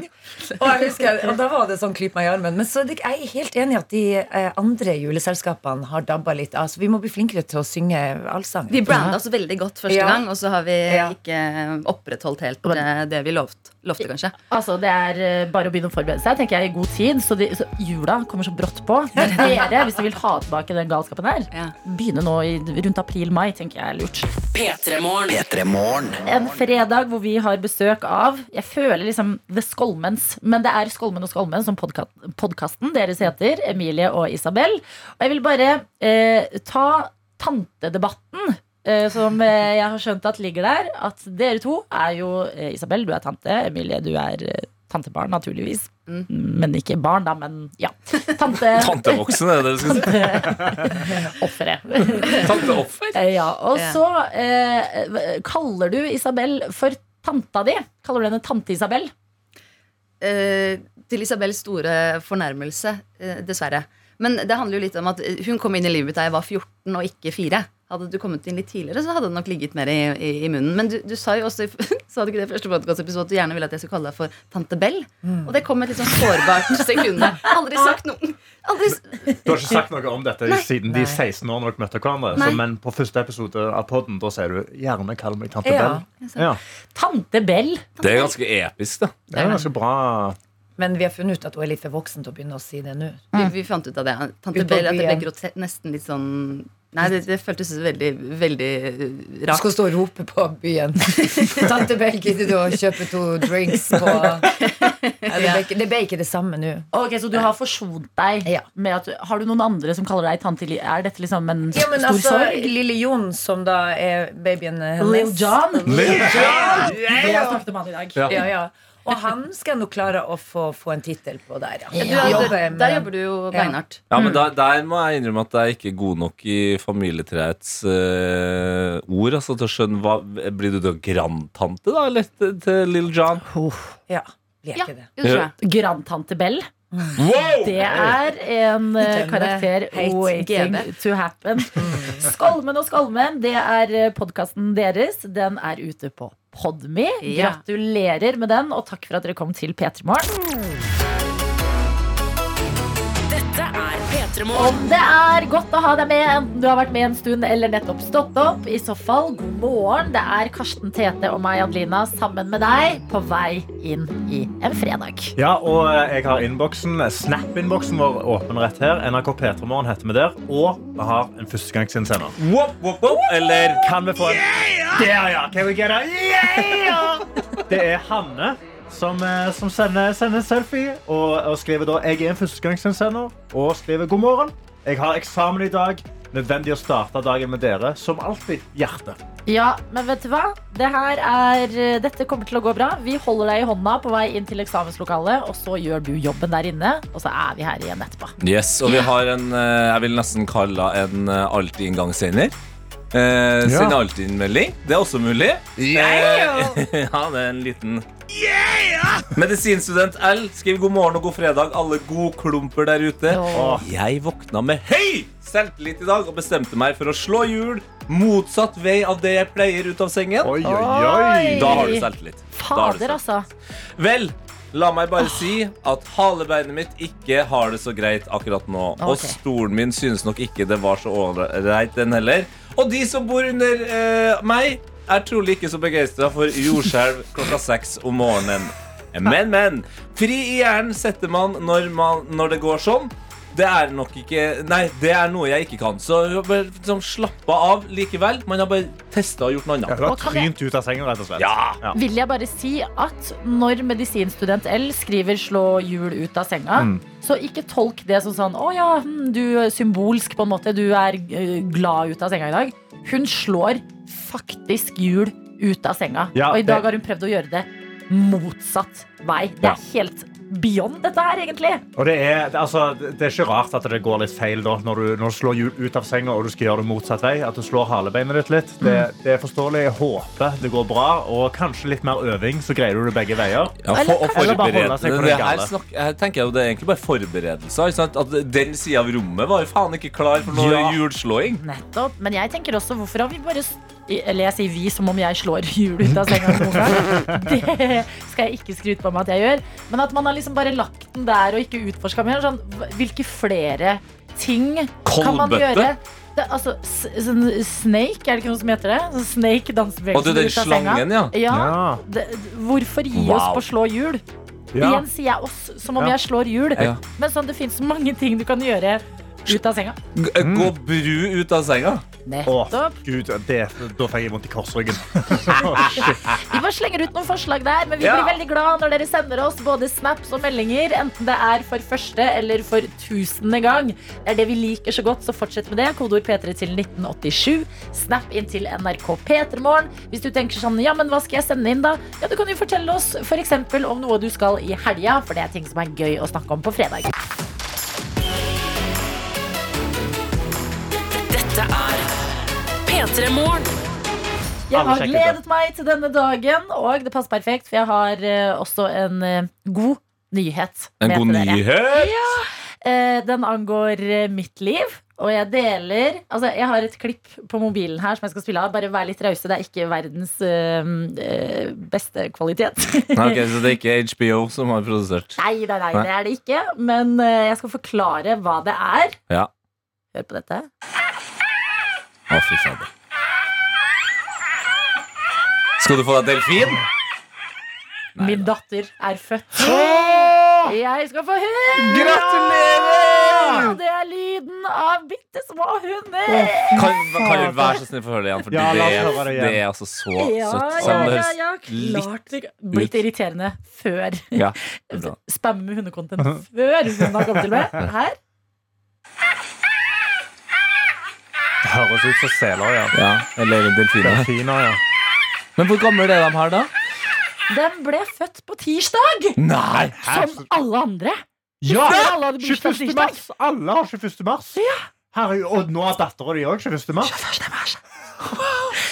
J: Og jeg husker, og da var det sånn klyp meg i armen. Men så er det- jeg er helt enig i at de eh, andre juleselskapene har dabba litt av. Så vi må bli flinkere til å synge allsang.
K: Vi branda oss veldig godt første
J: Ja.
K: gang, og så har vi ikke opprettholdt helt eh, det vi lovt, lovte, kanskje.
B: Altså, Det er eh, bare å begynne å forberede seg tenker jeg, i god tid. Så, de, så jula kommer så brått på. Men dere, hvis dere vil ha tilbake den galskapen her, begynne nå i, rundt april-mai, tenker jeg er lurt.
A: P3-morgen.
B: En fredag hvor vi har besøk av Jeg føler liksom The Skolmens. Men det er Skolmen og Skolmen som podka podkasten deres heter. Emilie og Isabel. Og jeg vil bare eh, ta tantedebatten. eh, Som eh, jeg har skjønt at ligger der. At dere to er jo eh, Isabel, du er tante. Emilie, du er eh, tantebarn, naturligvis. Men ikke barn, da. Men ja. Tante
C: Tantevoksen, er det det du skal si?
B: Offeret.
C: Tanteoffer.
B: Eh, Ja, og
C: Ja.
B: så eh, kaller du Isabel for tanta di. Kaller du henne tante Isabel?
K: Eh, til Isabels store fornærmelse, eh, dessverre. Men det handler jo litt om at eh, hun kom inn i livet mitt da jeg var 14 og ikke 4. Hadde du kommet inn litt tidligere, så hadde det nok ligget mer i, i, i munnen. Men du, du sa jo også i f- sa du ikke det i første podcast-episode at du gjerne ville at jeg skulle kalle deg for tante Bell.
B: Mm.
K: Og det kom et litt sånn sårbart sekund der. Aldri sagt noe. Aldri s-
D: Du har ikke sagt noe om dette siden de 16 årene dere møtte hverandre. Så,
K: Nei.
D: men på første episode av podden da sier du 'gjerne kall meg tante
J: Ja,
D: Bell'.
J: jeg ser.
D: Ja.
B: Tante Bell.
C: Det er ganske episk, da.
D: Det er ganske bra.
J: Men vi har funnet ut at hun er litt for voksen til å begynne å si det nå.
K: Vi, vi fant ut av det. Tante
J: Ut på
K: Bell, at det ble
J: byen.
K: grote- nesten litt sånn Nei, det, det føltes veldig, veldig eh,
J: Du
K: rart.
J: skal stå og rope på byen. Tante Bell, gidder du å kjøpe to drinks på Nei, det ble ikke- Det ble ikke det samme nå.
B: Ok, Så du har forsont deg med at Har du noen andre som kaller deg tante Li? Er dette liksom en
J: Ja, men
B: stor
J: altså,
B: sorg?
J: Lille Jon, som da er babyen hennes
B: Lil Jon? Lil Jon! Vi har snakket om han i dag.
J: Ja.
B: Ja.
J: Ja, Og han skal nå klare å få, få en tittel på der, ja.
K: Du, er-
J: Jobbe
K: der,
J: med-
K: der jobber du jo beinhardt.
C: Ja, men der, der må jeg innrømme at jeg ikke er god nok i familietreets eh, ord. Altså til å skjønne hva, Blir du da grandtante, da, eller til, til Lille John?
J: Ja, vi er ikke det.
C: det tror jeg.
B: Grandtante Bell.
C: Wow!
B: Det er en eh,
J: Den
B: karakter
J: er helt
B: waiting
J: GB.
B: to happen. Skolmen og Skolmen, det er podkasten deres. Den er ute på Podme.
A: Ja.
B: Gratulerer med den, og takk for at dere kom til P3 Morgen.
A: Dette er
B: Om
A: P3-morgen.
B: det er godt å ha deg med, enten du har vært med en stund eller nettopp stått opp, i så fall, god morgen. Det er Karsten Tete og meg, Adelina, sammen med deg på vei inn i en fredag.
D: Ja, og eh, jeg har innboksen, Snap-innboksen vår åpen rett her. NRK P3morgen heter vi der. Og vi har en førstegangsinnsender.
C: Wop, wop, wop. Eller
D: kan vi få en Der, ja! Can we get a yeah? Det er Hanne som, eh, som sender, sender selfie og, og skriver da Jeg er en førstegangsinnsender og skriver god morgen. Jeg har eksamen i dag. Nødvendig å starte dagen med dere. Som alltid, hjerte.
B: Ja, men vet du hva? Det her er, eh, dette kommer til å gå bra. Vi holder deg i hånda på vei inn til eksamenslokalet, og så gjør du jobben der inne, og så er vi her igjen etterpå.
C: Yes, og vi har en, eh, jeg vil nesten kalle det en eh, alltid-inngangssender. Eh,
L: Ja.
C: Send alltid inn melding. Det er også mulig. Eh, ja, det er en liten Medisinstudent L skriver god morgen og god fredag, alle godklumper der ute.
L: Åh.
C: Jeg våkna med høy selvtillit i dag og bestemte meg for å slå hjul motsatt vei av det jeg pleier ut av sengen.
B: oi.
C: Da har du selvtillit. Da har du
B: Fader, altså.
C: Vel, la meg bare si at halebeinet mitt ikke har det så greit akkurat nå. Og
B: Ok.
C: stolen min synes nok ikke det var så ålreit, den heller. Og de som bor under eh, meg, er trolig ikke så begeistra for jordskjelv klokka seks om morgenen. Men, men. Fri i hjernen setter man når, man, når det går sånn. Det er nok ikke Nei, det er noe jeg ikke kan. Så bare liksom, slappa av likevel. Man har bare testa og gjort noe annet.
B: du har Og kan jeg- trynt
D: ut av senga, rett og slett.
C: Ja.
B: Vil jeg bare si at når medisinstudent L skriver 'slå hjul ut av senga',
D: Mm.
B: så ikke tolk det som sånn 'å ja, hm, du er symbolsk på en måte, du er eh, glad ut av senga i dag'. Hun slår faktisk hjul ut av senga.
D: Ja,
B: og i dag
D: det-
B: har hun prøvd å gjøre det motsatt vei. Det
D: Ja.
B: er helt beyond dette her, egentlig.
D: Og det er, det- altså, det er ikke rart at det går litt feil da, når du, når du slår hjul ut av senga og du skal gjøre det motsatt vei. At du slår halebeinet ditt litt. Det, det er forståelig. Jeg håper det går bra. Og kanskje litt mer øving, så greier du det begge veier.
C: Ja, for, og
D: Eller bare holde seg
C: forberedelse.
D: på
C: Det
D: det
C: her
D: gale.
C: snakk- her tenker jeg jo det er egentlig bare forberedelser. Ikke sant? At den sida av rommet var jo faen ikke klar for noe
B: Ja.
C: hjulslåing.
B: Nettopp. Men jeg tenker også, hvorfor har vi bare s- Eller jeg sier vi som om jeg slår hjul ut av senga noen gang. Det skal jeg ikke skryte på meg at jeg gjør. Men at man har liksom bare lagt den der og ikke utforska mer. Sånn, hva- hvilke flere ting kan man
C: Kolbøtte?
B: gjøre? Det, altså, s- sånn snake, er det ikke noe som heter det? Sånn snake dansebevegelsen
C: Å, det er den
B: ut av senga.
C: slangen, ja. Ja.
B: Det, hvorfor gi
C: Wow.
B: oss på å slå hjul?
C: Ja.
B: Igjen sier jeg oss, som om
C: Ja.
B: jeg slår hjul.
C: Ja.
B: Men sånn, det fins mange ting du kan gjøre ut av senga.
C: G Gå bru ut av senga.
B: Nettopp.
D: Mm. Å, Gud, det, da fikk jeg vondt i korsryggen.
B: Vi bare slenger ut noen forslag der, men vi
D: Ja.
B: blir veldig glad når dere sender oss både snaps og meldinger, enten det er for første eller for tusende gang. Det er det vi liker så godt, så fortsett med det. Kodeord P3 til 1987. Snap inn til NRK P3morgen. Hvis du tenker sånn, ja, men hva skal jeg sende inn da? Ja, du kan jo fortelle oss f.eks. om noe du skal i helga, for det er ting som er gøy å snakke om på fredag.
A: Dette er P3 Morgen.
B: Jeg
A: Alle
B: har
A: sjekker
B: gledet meg til denne dagen, og det passer perfekt, for jeg har eh, også en eh, god nyhet.
C: En
B: med
C: god
B: til dere.
C: nyhet?
B: Ja, eh, den angår eh, mitt liv. Og jeg deler Altså, jeg har et klipp på mobilen her som jeg skal spille av. Bare vær litt rause. Det er ikke verdens eh, eh, beste kvalitet.
C: Nei, ok, så det er ikke HBO som har produsert.
B: Nei, nei, nei,
C: Nei.
B: det er det ikke. Men eh, jeg skal forklare hva det er.
C: Ja.
B: Hør på dette.
C: Å, fy fader. Skal du få deg delfin?
B: Min datter er født. Jeg skal få hund!
C: Gratulerer!
B: Og Det er lyden av bitte små hunder.
C: Kan, kan vi være så snill for å høre det igjen? For
D: Ja, la
C: det,
D: oss
C: er,
D: høre det
C: det
D: igjen.
C: er altså så
B: ja,
C: søtt.
B: ja,
C: Selv om det
B: ja,
C: høres
B: ja, klart.
C: litt
B: Det blitt irriterende før.
C: Ja, det er bra.
B: Spamme hundekontent før hun har kommet til meg. Her.
D: Det høres ut som seler, ja.
C: ja Eller delfiner.
D: delfiner ja.
C: Men hvor gammel er de her, da?
B: Den ble født på tirsdag!
C: Nei!
B: Som alle andre.
D: Ja!
B: Før alle hadde bursdag
D: 21.
B: tirsdag.
D: mars. Alle har 21. mars. Herregud, og nå har dattera di òg 21. mars.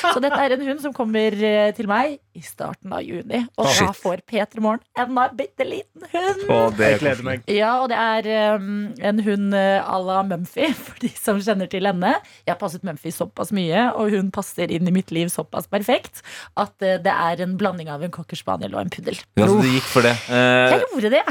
B: Så dette er en hund som kommer eh, til meg i starten av juni. Og
D: Shit.
B: da får Peter Morgen enda bitte liten hund.
C: Å, det er
D: Jeg gleder meg.
B: Ja, og det er um, en hund eh, à la Mumphy, for de som kjenner til henne. Jeg har passet Mumphy såpass mye, og hun passer inn i mitt liv såpass perfekt at eh, det er en blanding av en cocker spaniel og en puddel.
C: Ja, så det gikk for det. Eh,
B: Jeg gjorde det.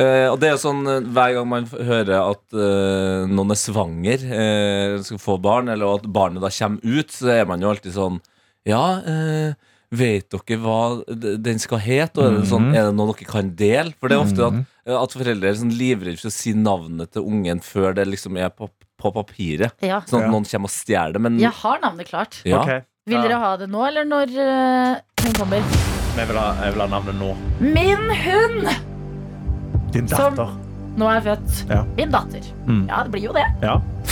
C: eh, og det er jo sånn eh, hver gang man f- hører at eh, noen er svanger, eh, skal få barn, eller at barnet da kommer ut, så er man jo alltid sånn Ja, eh, vet dere hva d- den skal hete? Og er det, sånn,
L: Mhm.
C: er det noe dere kan dele? For det er ofte at, at foreldre er sånn livredde for å si navnet til ungen før det liksom er på, på papiret.
B: Ja.
C: Sånn at
B: Ja.
C: noen kommer og stjeler det. Men
B: Jeg har navnet klart.
C: Mm. Ja. Ok.
B: Vil dere ha det nå, eller når eh, hun kommer?
D: Men jeg vil ha, jeg vil ha navnet nå.
B: Min hund!
D: Din datter.
B: Nå er jeg født.
D: Ja.
B: Min datter.
D: Mm.
B: Ja, det blir jo det.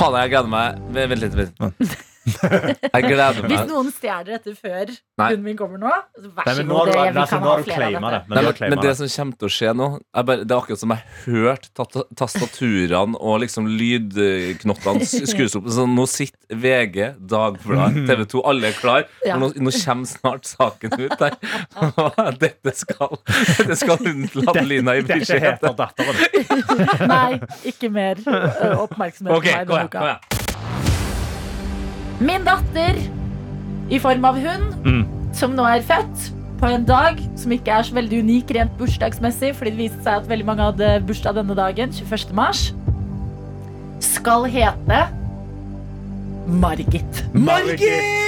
C: Faen, jeg gleder meg. Vent vent litt. Vent. Jeg gleder meg.
B: Hvis noen stjeler dette før
C: Nei.
B: hunden min kommer nå, så vær
C: Nei,
B: så
C: men nå
B: god.
C: har du-
B: Det, vi
C: altså,
B: kan
C: nå
B: ha
C: har du
B: flere
D: claimet
B: av dette.
D: det. Men
C: Nei,
D: det
C: men,
D: claimer
C: men det
D: det.
C: som kommer til å skje nå er bare, Det er akkurat som jeg hørte tat- tastaturene og liksom lydknottene s- skrus opp. Så nå sitter VG, Dagbladet, TV 2, alle er klar
L: Ja.
C: For Nå, nå kommer snart saken ut der. Dette skal, dette skal unnlate Lina i
D: dette
C: beskjed.
D: heter
B: Nei, ikke mer ø, oppmerksomhet på
C: Ok,
B: meg
C: kom
B: denne
C: igjen,
B: uka. Min datter i form av hund,
C: Mm.
B: som nå er født på en dag som ikke er så veldig unik rent bursdagsmessig, fordi det viste seg at veldig mange hadde bursdag denne dagen, 21. mars, skal hete Margit.
C: Margit!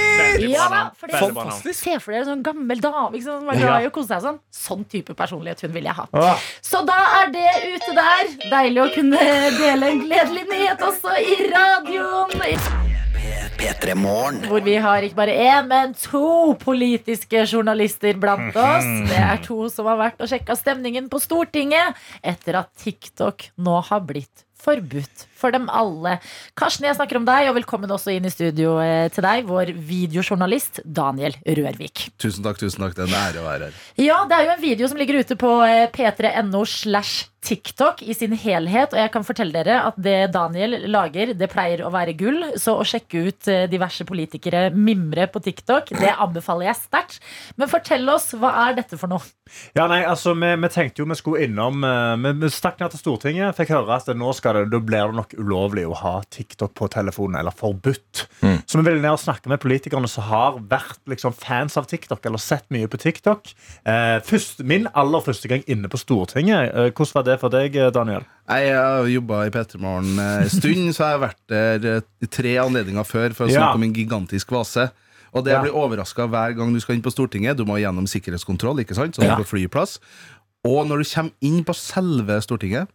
B: Ja da, for det er
C: Fantastisk.
B: Se for dere en sånn gammel dame ikke sant, som var
C: Ja.
B: glad i å kose seg og sånn. Sånn type personlighet hun ville jeg ha.
C: Åh.
M: Ah.
B: Så da er det ute der. Deilig å kunne dele en gledelig nyhet også i radioen. Hvor vi har ikke bare én, men to politiske journalister blant oss. Det er to som har vært og sjekka stemningen på Stortinget etter at TikTok nå har blitt forbudt for dem alle. Karsten, jeg snakker om deg, og velkommen også inn i studio eh, til deg, vår videojournalist Daniel Rørvik.
M: Tusen takk, tusen takk. Det er en ære å være her.
B: Ja, det er jo en video som ligger ute på eh, p3.no slash TikTok i sin helhet, og jeg kan fortelle dere at det Daniel lager, det pleier å være gull. Så å sjekke ut eh, diverse politikere mimre på TikTok, det anbefaler jeg sterkt. Men fortell oss, hva er dette for noe?
D: Ja, nei, altså, vi, vi tenkte jo vi skulle innom eh, Vi, vi stakk ned til Stortinget, fikk høre at nå skal det, da blir det nok ulovlig å ha TikTok på telefonen, eller forbudt.
C: Mm.
D: Så vi ville ned og snakke med politikerne som har vært liksom, fans av TikTok, eller sett mye på TikTok. Eh, først, min aller første gang inne på Stortinget. Eh, hvordan var det for deg, eh, Daniel?
L: Jeg har jobba i P3 Morgen en stund, så jeg har vært der eh, i tre anledninger før for å
D: Ja.
L: snakke om en gigantisk vase. Og det jeg blir overraska hver gang du skal inn på Stortinget. Du må gjennom sikkerhetskontroll, ikke sant? Sånn
D: Ja.
L: på flyplass. Og når du kommer inn på selve Stortinget,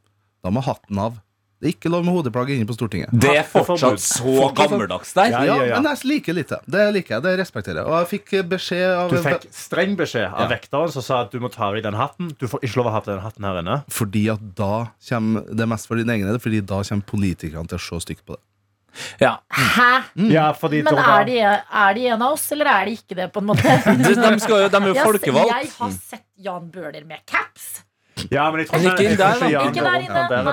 L: da må hatten av. Det er ikke lov med hodeplagg inne på Stortinget.
C: Det er fortsatt så gammeldags der.
L: Ja, men jeg liker litt det. Det liker jeg. Det respekterer jeg. Og jeg fikk beskjed av
D: Du fikk streng beskjed av vekteren som sa at du må ta av deg den hatten. Du får ikke lov å ha på den hatten her inne.
L: Fordi at da kommer det er mest for dine egne, fordi da kommer politikerne til å se stygt på det. Mm.
C: Ja.
B: Hæ?
D: Ja, fordi
B: Men er de, er de en av oss, eller er de ikke det, på en måte?
C: De- de skal jo- de er jo
B: Jeg har se-
C: folkevalgt.
B: Jeg har sett Jan Bøhler med caps.
D: Ja, men jeg tror
C: Ikke inn
D: jeg
C: der,
D: tror
C: da.
D: Jan
B: Ikke
D: går
B: der
D: opp
B: inne.
D: der,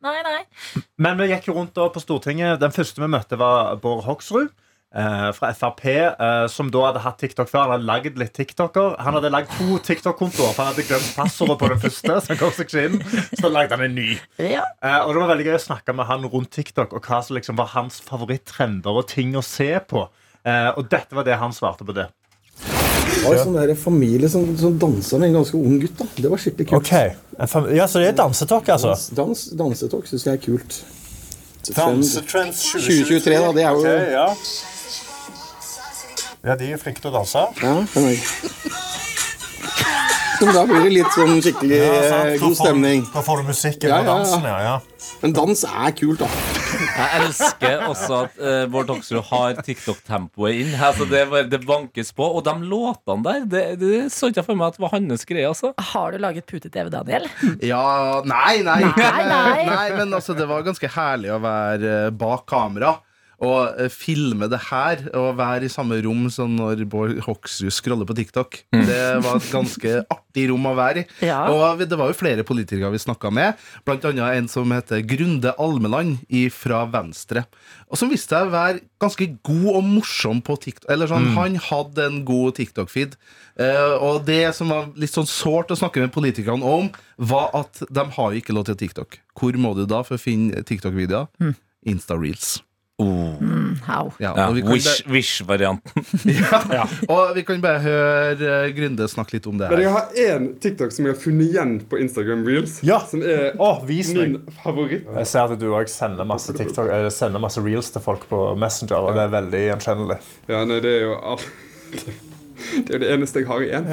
B: Nei, nei. nei, nei.
D: Men vi gikk jo rundt da på Stortinget. Den første vi møtte, var Bård Hoksrud. eh, fra Frp, eh, som da hadde hatt TikTok før. Han hadde lagd litt TikToker. Han hadde lagd to TikTok-kontoer, for han hadde glemt passordet på den første. Så han kom seg ikke inn Så lagde han en ny. Eh, og det var veldig gøy å snakke med han rundt TikTok og hva som liksom var hans favoritttrender og ting å se på. Eh, og dette var det han svarte på det.
G: Det var en sånn der familie som, som dansa med en ganske ung gutt. da. Det var skikkelig kult.
F: Ja, Så det er dansetokk, altså?
G: Dans, dans, dansetokk syns jeg er kult.
F: Dansetrends
G: 2023, da. Det er jo
F: Ok, ja. ja, de er flinke til å danse.
G: Ja, den er Men da blir det litt sånn skikkelig
F: Ja, sant.
G: eh,
F: Da
G: god
F: får-
G: stemning.
F: Da får du musikken og dansen, ja,
G: Men dans er kult, da.
C: Jeg elsker også at eh, Bård Hoksrud har TikTok-tempoet inn. Altså, det, var- det bankes på. Og de låtene der, det, det så ikke jeg for meg at det var hans greie. Altså.
B: Har du laget pute-TV, Daniel?
L: Ja Nei, nei!
B: Nei, nei.
L: men altså, det var ganske herlig å være eh, bak kamera. Og eh, filme det her, og være i samme rom som når Bård Hoksrud scroller på TikTok.
D: Mm.
L: Det var et ganske artig rom å være i.
B: Ja.
L: Og vi- det var jo flere politikere vi snakka med, blant annet en som heter Grunde Almeland fra Venstre. Og som viste seg å være ganske god og morsom på TikTok. Eller sånn,
M: Mm.
L: Han hadde en god TikTok-feed. Eh, og det som var litt sånn sårt å snakke med politikerne om, var at de har jo ikke lov til TikTok. Hvor må du da for å finne TikTok-videoer? Insta-reels.
B: How?
L: Ja,
C: Ja,
L: og vi kan
C: Wish- Wish-varianten.
L: ja. Og vi kan bare høre eh, Grunde snakke litt om det
H: Men jeg
L: her.
H: har én TikTok som jeg har funnet igjen på Instagram Reels. Som er min favoritt.
D: Jeg ser at du òg sender, masse TikTok- eh, sender masse reels til folk på Messenger, og det er veldig gjenkjennelig.
H: Ja, nei, det er jo all... Det er jo det eneste jeg har igjen.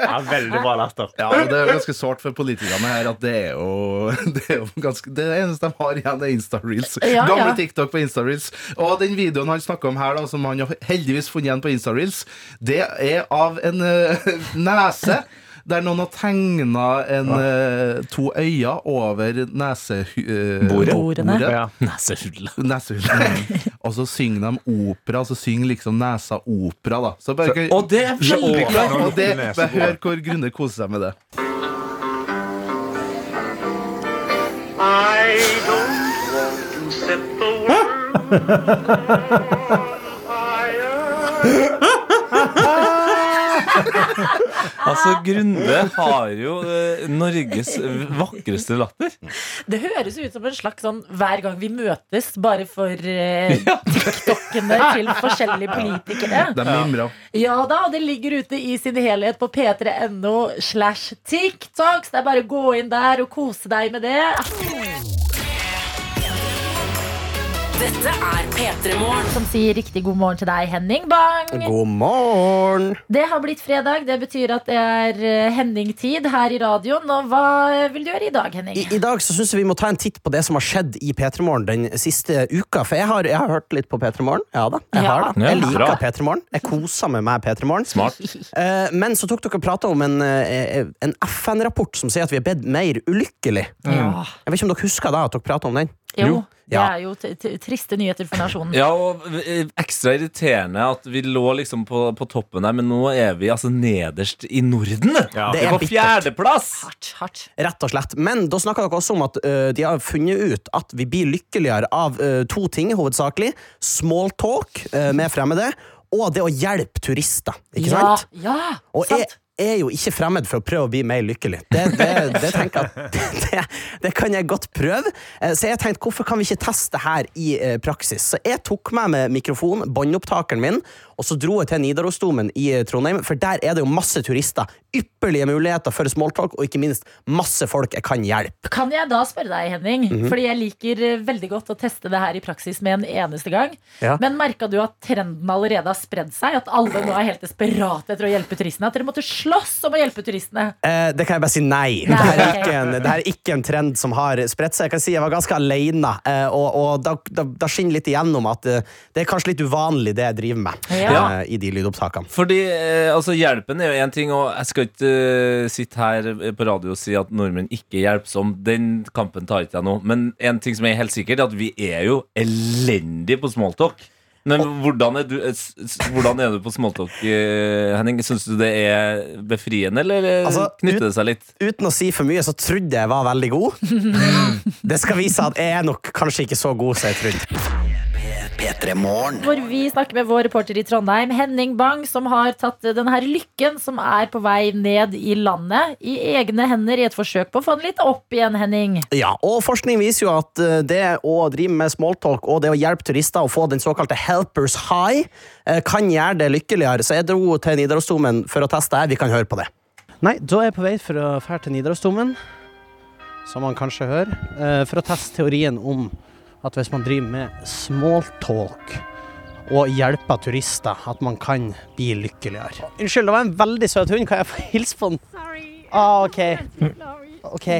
D: Ja, veldig bra latter.
L: Ja, og Det er jo ganske sårt for politikerne her at det er jo det, er jo ganske, det eneste de har igjen, er Insta-reels.
M: Ja,
L: Gamle
M: ja.
L: TikTok på Insta-reels. Og den videoen han snakker om her, da, som han har heldigvis funnet igjen på Insta-reels, det er av en eh, nese. Der noen har tegna to øyne over eh,
C: Bordet.
L: nesebordet.
C: Ja. Nesehullet.
L: og så synger de opera. Så synger liksom nesa opera, da. Så bare,
C: Så- og det er
L: Så-
C: veldig
L: og
C: bra.
L: det- Bare hør hvor Grunde koser seg med det.
M: I don't want to set the
C: Altså, Grunde har jo eh, Norges vakreste latter.
B: Det høres ut som en slags sånn hver gang vi møtes, bare for eh, TikTokene til forskjellige politikere.
L: De mimrer.
B: Ja da, det ligger ute i sin helhet på p3.no slash TikTok. Så det er bare å gå inn der og kose deg med det.
A: Dette er P3 Morgen.
B: Som sier riktig god morgen til deg, Henning Bang.
G: God morgen!
B: Det har blitt fredag. Det betyr at det er eh, Henning-tid her i radioen. Og hva eh, vil du gjøre i dag, Henning?
M: I, I dag så synes jeg vi må ta en titt på det som har skjedd i P3 Morgen den siste uka. For jeg har, jeg har hørt litt på P3 Morgen. Ja da, jeg
B: Ja.
M: har det.
B: Ja,
M: Jeg liker
B: bra.
M: P3 Morgen. Jeg koser meg med P3 Morgen. Eh, men så tok dere og prata om en, eh, en FN-rapport som sier at vi er bedt mer ulykkelig.
B: Ja.
M: Jeg vet ikke om dere husker da at dere prata om den?
B: Jo. Det
C: Ja.
B: er jo t t triste nyheter for nasjonen.
C: Ja, og eh, ekstra irriterende at vi lå liksom på, på toppen der, men nå er vi altså nederst i Norden.
M: Det
C: vi
M: er
C: er på
M: bittert.
C: fjerdeplass!
M: Rett og slett. Men da snakka dere også om at ø, de har funnet ut at vi blir lykkeligere av ø, to ting, hovedsakelig. Smalltalk uh, med fremmede, og det å hjelpe turister.
J: Ah,
M: Ikke
B: ja,
M: sant?
B: ja,
M: Og jeg
B: sant.
M: er jo ikke fremmed for å prøve å bli mer lykkelig. Det, det, det tenker jeg at det, det kan jeg godt prøve. Eh, Så jeg tenkte, hvorfor kan vi ikke teste det her i eh, praksis? Så jeg tok med meg mikrofon, båndopptakeren min, og så dro jeg til Nidarosdomen i eh, Trondheim, for der er det jo masse turister. Ypperlige muligheter for smalltalk, og ikke minst masse folk jeg kan hjelpe.
B: Kan jeg da spørre deg, Henning?
M: Mhm.
B: Fordi jeg liker eh, veldig godt å teste det her i praksis med en eneste gang.
M: Ja.
B: Men merka du at trenden allerede har spredd seg? At alle nå er helt desperate etter å hjelpe turistene? At dere måtte slåss om å hjelpe turistene?
M: Eh, det kan jeg bare si nei. Det her er ikke en, det her er ikke en trend som har spredt seg. Jeg kan si jeg var ganske alene, eh, og, og da, da, da skinner litt igjennom at eh, det er kanskje litt uvanlig det jeg driver med
C: Ja.
M: eh, i de lydopptakene.
C: Fordi eh, altså, hjelpen er jo én ting, og jeg skal ikke eh, sitte her eh, på radio og si at nordmenn ikke er hjelpsomme. Den kampen tar ikke jeg nå. Men en ting som er helt sikkert, er at vi er jo elendige på smalltalk. Men hvordan er, du, eh, s- s- hvordan er du på smalltalk, eh, Henning? Syns du det er befriende, eller eh,
M: Altså,
C: knytter det seg litt?
M: Uten å si for mye, så trodde jeg var veldig god. Det skal vise at jeg er nok kanskje ikke så god som jeg trodde.
B: Hvor vi snakker med vår reporter i Trondheim, Henning Bang, som har tatt eh, denne her lykken som er på vei ned i landet, i egne hender i et forsøk på å få den litt opp igjen, Henning.
M: Ja, og Forskning viser jo at eh, det å drive med smalltalk og det å hjelpe turister å få den såkalte helpers high, eh, kan gjøre det lykkeligere. Så jeg dro til Nidarosdomen for å teste det her. Vi kan høre på det. Nei, da er jeg på vei for å fære til Nidarosdomen, som man kanskje hører, eh, for å teste teorien om at hvis man driver med smalltalk og hjelper turister, at man kan bli lykkeligere. Unnskyld, det var en veldig søt hund. Kan jeg få hilse på den? Ah, OK. OK.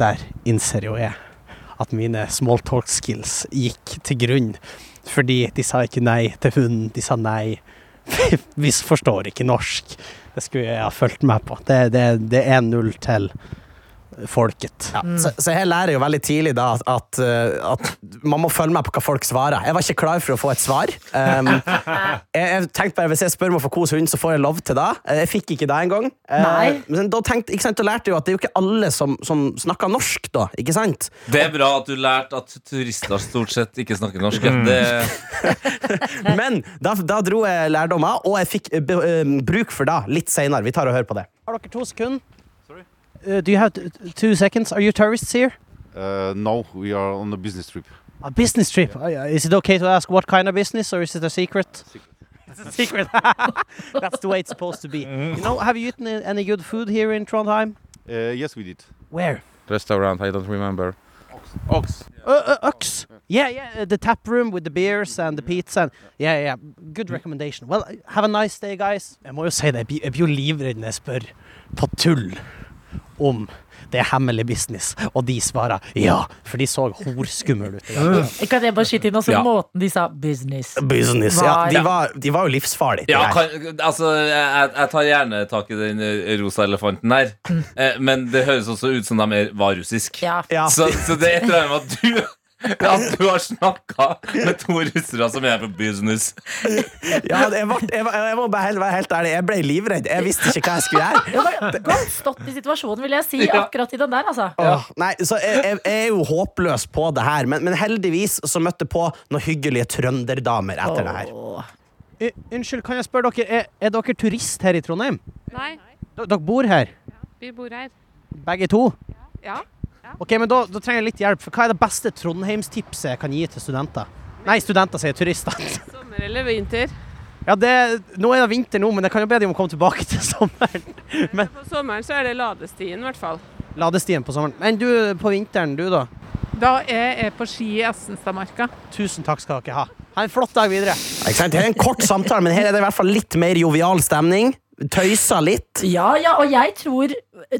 M: Der innser jo jeg at mine smalltalk skills gikk til grunn. Fordi de sa ikke nei til hunden, de sa nei. Vi forstår ikke norsk. Det skulle jeg ha fulgt med på. Det, det, det er null til folket. Ja, så, så jeg lærer jo veldig tidlig da at, at, uh, at man må følge med på hva folk svarer. Jeg var ikke klar for å få et svar. Um, jeg, jeg tenkte bare Hvis jeg spør om å få kose hunden, så får jeg lov til det. Eh, Jeg fikk ikke det engang. Eh,
B: Nei.
M: Men da, tenkte, ikke sant, da lærte jeg jo at det er jo ikke alle som, som snakker norsk, da. Ikke sant?
C: Det er bra at du lærte at turister stort sett ikke snakker norsk. ja. Det
M: Men da, da dro jeg lærdommer, og jeg fikk eh, be, eh, bruk for det litt seinere. Vi tar og hører på det. Har dere to sekunder? Eh, do you have two seconds? Are you tourists here?
N: Uh, no, we are on a business trip.
M: A business trip. Oh, Is it okay to ask what kind of business, or is it a secret? It's a secret. That's the way it's supposed to be. You know, have you eaten any good food here in Trondheim?
N: Uh, yes, we did.
M: Where?
O: Restaurant, I don't remember.
M: Ox. Uh, uh, Ox. Yeah, yeah. uh, the tap room with the beers and the pizza. And, yeah, yeah. Good recommendation. Well, have a nice day, guys. Jeg må jo si det. Jeg blir- Jeg blir jo livredd når jeg spør på tull om det er hemmelig business, og de svarer ja, for de så horskumle ut. i dag.
C: Mm.
B: Kan jeg bare skyte inn også
M: Ja.
B: måten de sa 'business'?
M: Business, ja. De var, de var jo livsfarlige. de
C: Ja,
M: der.
C: kan, altså, jeg, jeg tar gjerne tak i den eh, rosa elefanten der. Eh, Men det høres også ut som de er- var russisk.
M: Ja.
C: Så, så det er et eller annet med at du at du har snakka med to russere som er på business.
M: Ja, det- jeg, var, jeg, var, jeg må bare helt, være helt ærlig. Jeg ble livredd. Jeg visste ikke hva jeg skulle gjøre.
B: Det var godt stått i situasjonen, vil jeg si,
M: Ja.
B: akkurat i den der, altså.
M: Åh, nei, så jeg, jeg, jeg er jo håpløs på det her, men, men heldigvis så møtte jeg på noen hyggelige trønderdamer etter det her. Eh, Unnskyld, kan jeg spørre dere, er, dere turist her i Trondheim?
P: Nei,
M: Dere bor her,
P: vi bor her.
M: begge to?
P: Ja.
M: Ok, men da, da trenger jeg litt hjelp, for hva er det beste Trondheimstipset jeg kan gi til studenter? Nei, studenter sier turister.
P: Sommer eller vinter?
M: Ja, det, nå er det vinter nå, men jeg kan jo be dem om å komme tilbake til sommeren. Men
P: På sommeren så er det ladestien, i hvert fall.
M: ladestien på sommeren. Men du, på vinteren, du da?
P: Da er jeg på ski i Assenstadmarka.
M: Tusen takk skal dere ha. Ha en flott dag videre. Ikke sant? Det er en kort samtale, men her er det i hvert fall litt mer jovial stemning. Tøysa litt.
B: Ja, ja, Ah, og jeg tror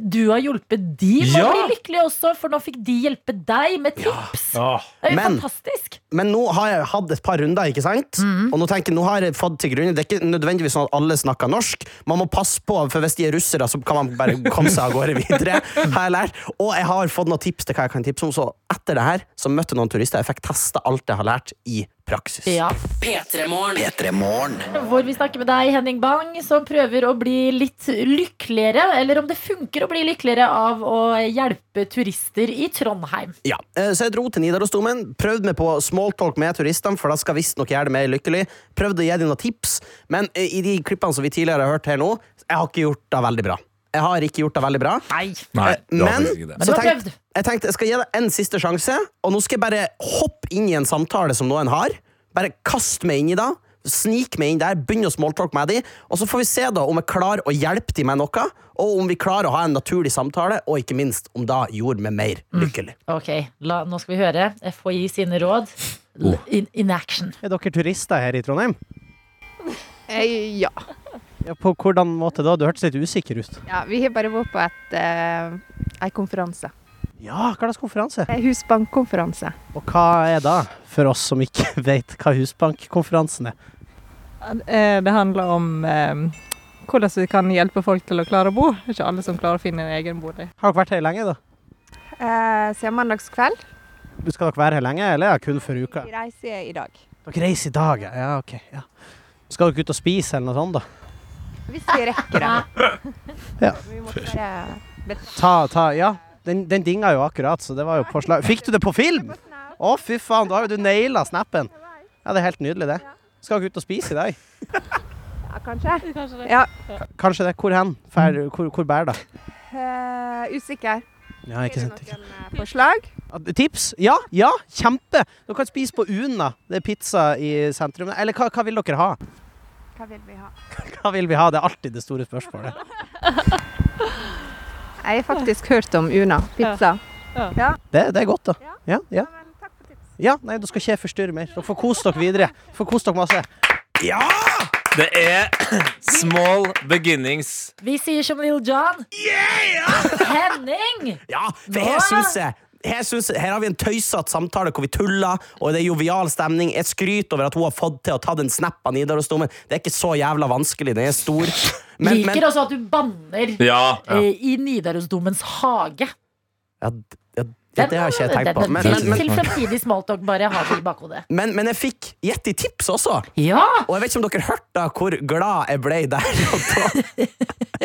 B: du har hjulpet de med å
M: Ja.
B: bli lykkelige også, for nå fikk de hjelpe deg med tips. Det er jo
M: Men,
B: fantastisk. Mhm.
M: men nå har jeg hatt et par runder, ikke sant? Og nå tenker jeg, nå har jeg fått til grunn Det er ikke nødvendigvis sånn at alle snakker norsk. Man må passe på, for hvis de er russere, så kan man bare komme seg av gårde videre. Har jeg lært. Og jeg har fått noen tips til hva jeg kan tipse om, så etter det her så møtte jeg noen turister. Jeg fikk testa alt jeg har lært, i praksis.
B: Ja.
A: P3-morgen.
B: Hvor vi snakker med deg, Henning Bang, som prøver å bli litt lykkeligere, eller om det funker å bli lykkeligere av å hjelpe turister i Trondheim.
M: Ja, eh, Så jeg dro til Nidarosdomen, prøvde meg på smalltalk med turistene, for da skal visstnok gjøre det mer lykkelig. Prøvde å gi dem noen tips, men eh, i de klippene som vi tidligere har hørt her nå, jeg har ikke gjort det veldig bra. Jeg har ikke gjort det veldig bra.
C: Nei,
M: Eh,
C: du har
M: men
C: faktisk ikke det.
M: så
C: Men du har
M: tenk, jeg tenkte jeg skal gi deg en siste sjanse, og nå skal jeg bare hoppe inn i en samtale som noen har. Bare kast meg inn i det. Snik meg inn der, begynn å smalltalk med dem, og så får vi se da om jeg klarer å hjelpe dem med noe, og om vi klarer å ha en naturlig samtale, og ikke minst om det gjorde meg mer
C: Mm.
M: lykkelig.
B: Ok, la, nå skal vi høre FHI sine råd. L- In, in action.
Q: Er dere turister her i Trondheim?
R: Eh, ja.
Q: Ja, på hvordan måte da? Du hørtes litt usikker ut.
R: ja. Vi har bare vært på et, eh, en konferanse.
Q: Ja, hva slags konferanse?
R: En husbankkonferanse.
Q: Og hva er det, for oss som ikke vet hva Husbankkonferansen er?
S: Eh, Det handler om eh, hvordan vi kan hjelpe folk til å klare å bo. Det er ikke alle som klarer å finne en egen bolig.
Q: Har dere vært her lenge, da?
R: Eh, Siden mandagskveld.
Q: Skal dere være her lenge, eller er det kun for uka?
R: Vi reiser i dag.
Q: Dere reiser i dag, ja. ja ok. Ja. Skal dere ut og spise eller noe sånt, da?
R: Hvis vi rekker det.
Q: Ja.
R: Vi må bare bet-
Q: Ta, ta, ja. Den, den dinga jo akkurat, så det var jo på slag. Fikk du det på film? Å, fy faen, da har jo du naila snappen. Ja, det er helt nydelig, det. Skal dere ut og spise i dag?
R: Ja, kanskje. Ja.
Q: K- Kanskje det. Hvor hen? Fær, hvor, hvor bærer det?
R: Eh, usikker.
Q: Ja, ikke sant.
R: Eh, Forslag?
Q: At- Tips? Ja, ja, kjempe! Dere kan spise på Una. Det er pizza i sentrum. Eller hva, hva vil dere ha?
R: Hva vil vi ha?
Q: Hva vil vi ha? Det er alltid det store spørsmålet.
R: Jeg har faktisk hørt om Una pizza. Ja.
Q: Det, det er godt, da. Ja, ja. Ja, nei, da skal ikke jeg forstyrre mer. Dere får kose dere videre. Dere får kose dere masse.
C: Ja! Det er small beginnings.
B: Vi sier som Lil John. Henning!
M: Ja, for her syns jeg her, synes, jeg- her har vi en tøysete samtale hvor vi tuller, og det er jovial stemning. Et skryt over at hun har fått til å ta den snappen av Nidarosdomen. Det er ikke så jævla vanskelig. Den er stor. Men, men
B: Liker også at du banner
M: Ja, ja.
B: eh, i Nidarosdomens hage.
M: ja, d- ja, ja, det har ikke jeg tenkt på. Men, men,
B: til
M: men,
B: fremtidig smalltalk, bare ha det i bakhodet.
M: men, men jeg fikk gjett i tips også. Og jeg vet ikke om dere hørte hvor glad jeg ble der og da.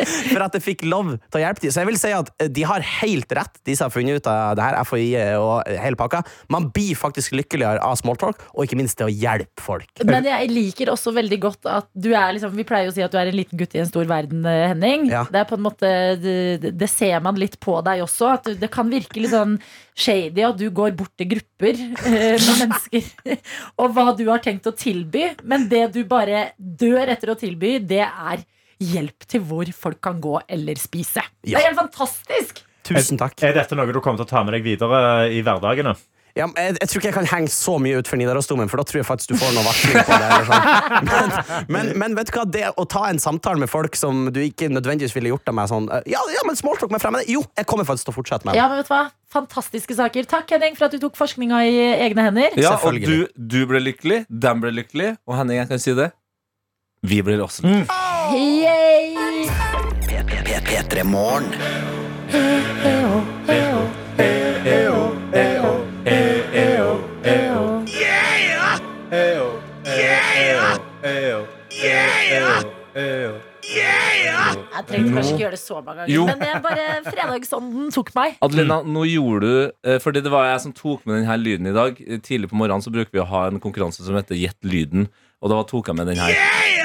M: For at jeg fikk lov til å hjelpe dem. Så jeg vil si at eh, de har helt rett, de som har funnet ut av det her. FHI og eh, hele pakka. Man blir faktisk lykkeligere av smalltalk, og ikke minst det å hjelpe folk.
B: Men jeg liker også veldig godt at du er liksom Vi pleier jo å si at du er en liten gutt i en stor verden, eh, Henning.
M: Ja.
B: Det er på en måte det, det ser man litt på deg også. At du- det kan virke litt sånn shady at du går bort til grupper eh, med mennesker. Og hva du har tenkt å tilby. Men det du bare dør etter å tilby, det er hjelp til hvor folk kan gå eller spise.
D: Ja.
B: Det er helt fantastisk!
M: Tusen takk.
D: Er dette noe du kommer til å ta med deg videre i hverdagene?
M: Ja, men jeg, jeg tror ikke jeg kan henge så mye ut for Nidarosdomen, for da tror jeg faktisk du får noe varsling på det. Eller sånn. men, men, men vet du hva, det å ta en samtale med folk som du ikke nødvendigvis ville gjort det med sånn eh, Ja, ja men smalltalk med fremmede. Jo, jeg kommer faktisk til å fortsette med
B: Ja,
M: det.
B: men vet du hva? Fantastiske saker. Takk, Henning, for at du tok forskninga i egne hender.
C: Ja, og du, du ble lykkelig, dem ble lykkelig, og Henning, jeg kan si det. Vi blir også lykkelige.
B: Yay! Jeg trengte kanskje ikke gjøre det så mange ganger,
C: Jo.
B: men jeg bare fredagsånden tok meg.
C: Adelina, nå gjorde du eh, Fordi det var jeg som tok med denne lyden i dag. Eh, Tidlig på morgenen så bruker vi å ha en konkurranse som heter Gjett lyden. Og da tok jeg med den her.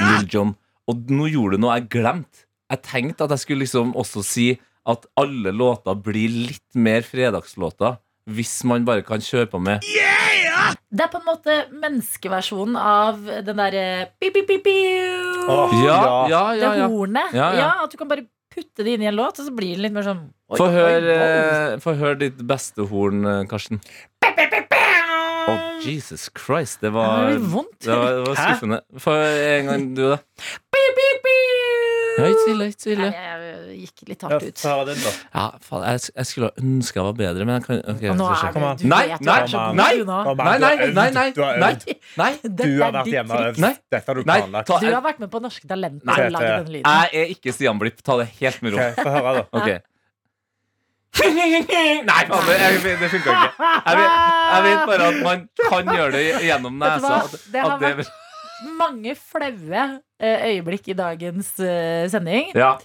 C: Lil Jon. Og nå gjorde du noe jeg glemte. Jeg tenkte at jeg skulle liksom også si at alle låter blir litt mer fredagslåter hvis man bare kan kjøre på med
B: Det er på en måte menneskeversjonen av den eh, derre
C: Åh, ja, ja, ja,
B: Det
C: ja.
B: hornet.
C: Ja, ja.
B: at du kan bare putte det inn i en låt, og så blir det litt mer sånn oi,
C: Få
B: oi,
C: høre,
B: oi.
C: eh, få høre ditt beste horn, eh, Karsten. Å, Jesus Christ, det
B: Det
C: var
B: var litt vondt.
C: Det var, det var
B: Hæ?
C: skuffende. Få en gang du, da.
B: Piu, piu, piu.
C: Ja, ikke så ille, ikke så ille.
B: Jeg gikk litt hardt ut.
C: Ja, faen, jeg, jeg skulle ønske jeg var bedre, men jeg kan ok,
B: Og nå
C: så skjer
B: er det-
C: det.
B: du
C: Nei,
B: vet
C: nei,
B: at du er
C: nei,
B: god nå.
C: nei, nei, nei, nei, nei,
D: Du har øvd.
C: nei, nei.
D: Du har vært hjemme og øvd.
C: Nei.
D: Dette har du
C: Nei,
D: planlagt.
C: ta-
B: Du har vært med på Norske Talenter
C: Nei,
B: og laget den lyden.
C: jeg er ikke Stian Blipp. Ta det helt med ro.
D: Ok, få høre da.
C: Ok. Nei, faen, det, jeg- det funka ikke. Jeg vet, jeg vet bare at man kan gjøre det gjennom
B: Vet du
C: nesa.
B: hva?
C: At,
B: Det har
C: at det,
B: vært- Mange flaue eh, øyeblikk i dagens eh, sending.
C: ja.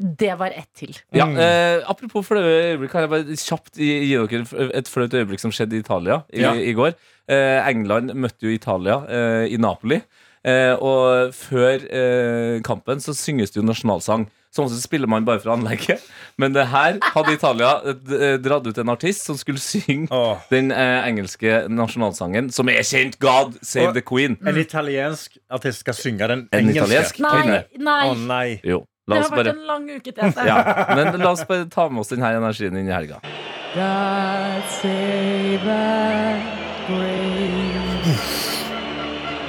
B: Det var ett til.
C: Ja,
D: Mm.
C: eh, apropos flaue øyeblikk, kan jeg bare kjapt gi, gi dere f- et flaut øyeblikk som skjedde i Italia i,
B: Ja.
C: i går. Eh, England møtte jo Italia eh, i Napoli. Eh, og før eh, kampen så synges det jo nasjonalsang. Som også spiller man bare fra anlegget. Men det her hadde Italia eh, d- eh, dratt ut en artist som skulle synge den eh, engelske nasjonalsangen, som er kjent God Save
D: Og
C: the Queen.
D: En italiensk artist skal synge den
C: En
D: engelske.
C: italiensk
B: Nei,
C: kvinne.
B: nei.
D: Å, nei.
C: Jo,
B: Det
C: la
B: har
C: oss
B: vært
C: bare
B: en lang uke, Tete.
C: ja, Men la oss bare ta med oss denne energien inn i helga.
E: God save that grave.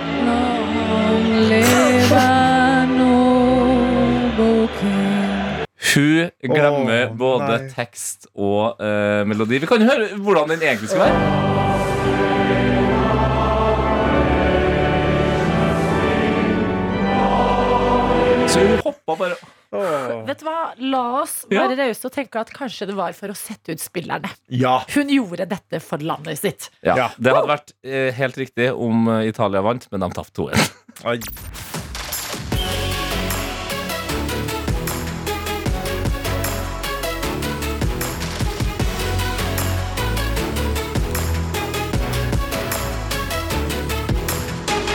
E: Long live our noble king.
C: Hun glemmer både
E: nei.
C: tekst og eh, melodi. Vi kan høre hvordan den egentlig skal være. Så hun hoppa bare
B: Vet du hva? La oss
C: Ja.
B: være rause og tenke at kanskje det var for å sette ut spillerne.
D: Ja.
B: Hun gjorde dette for landet sitt.
C: Ja, Det hadde vært eh, helt riktig om eh, Italia vant, men de tapte 2-1.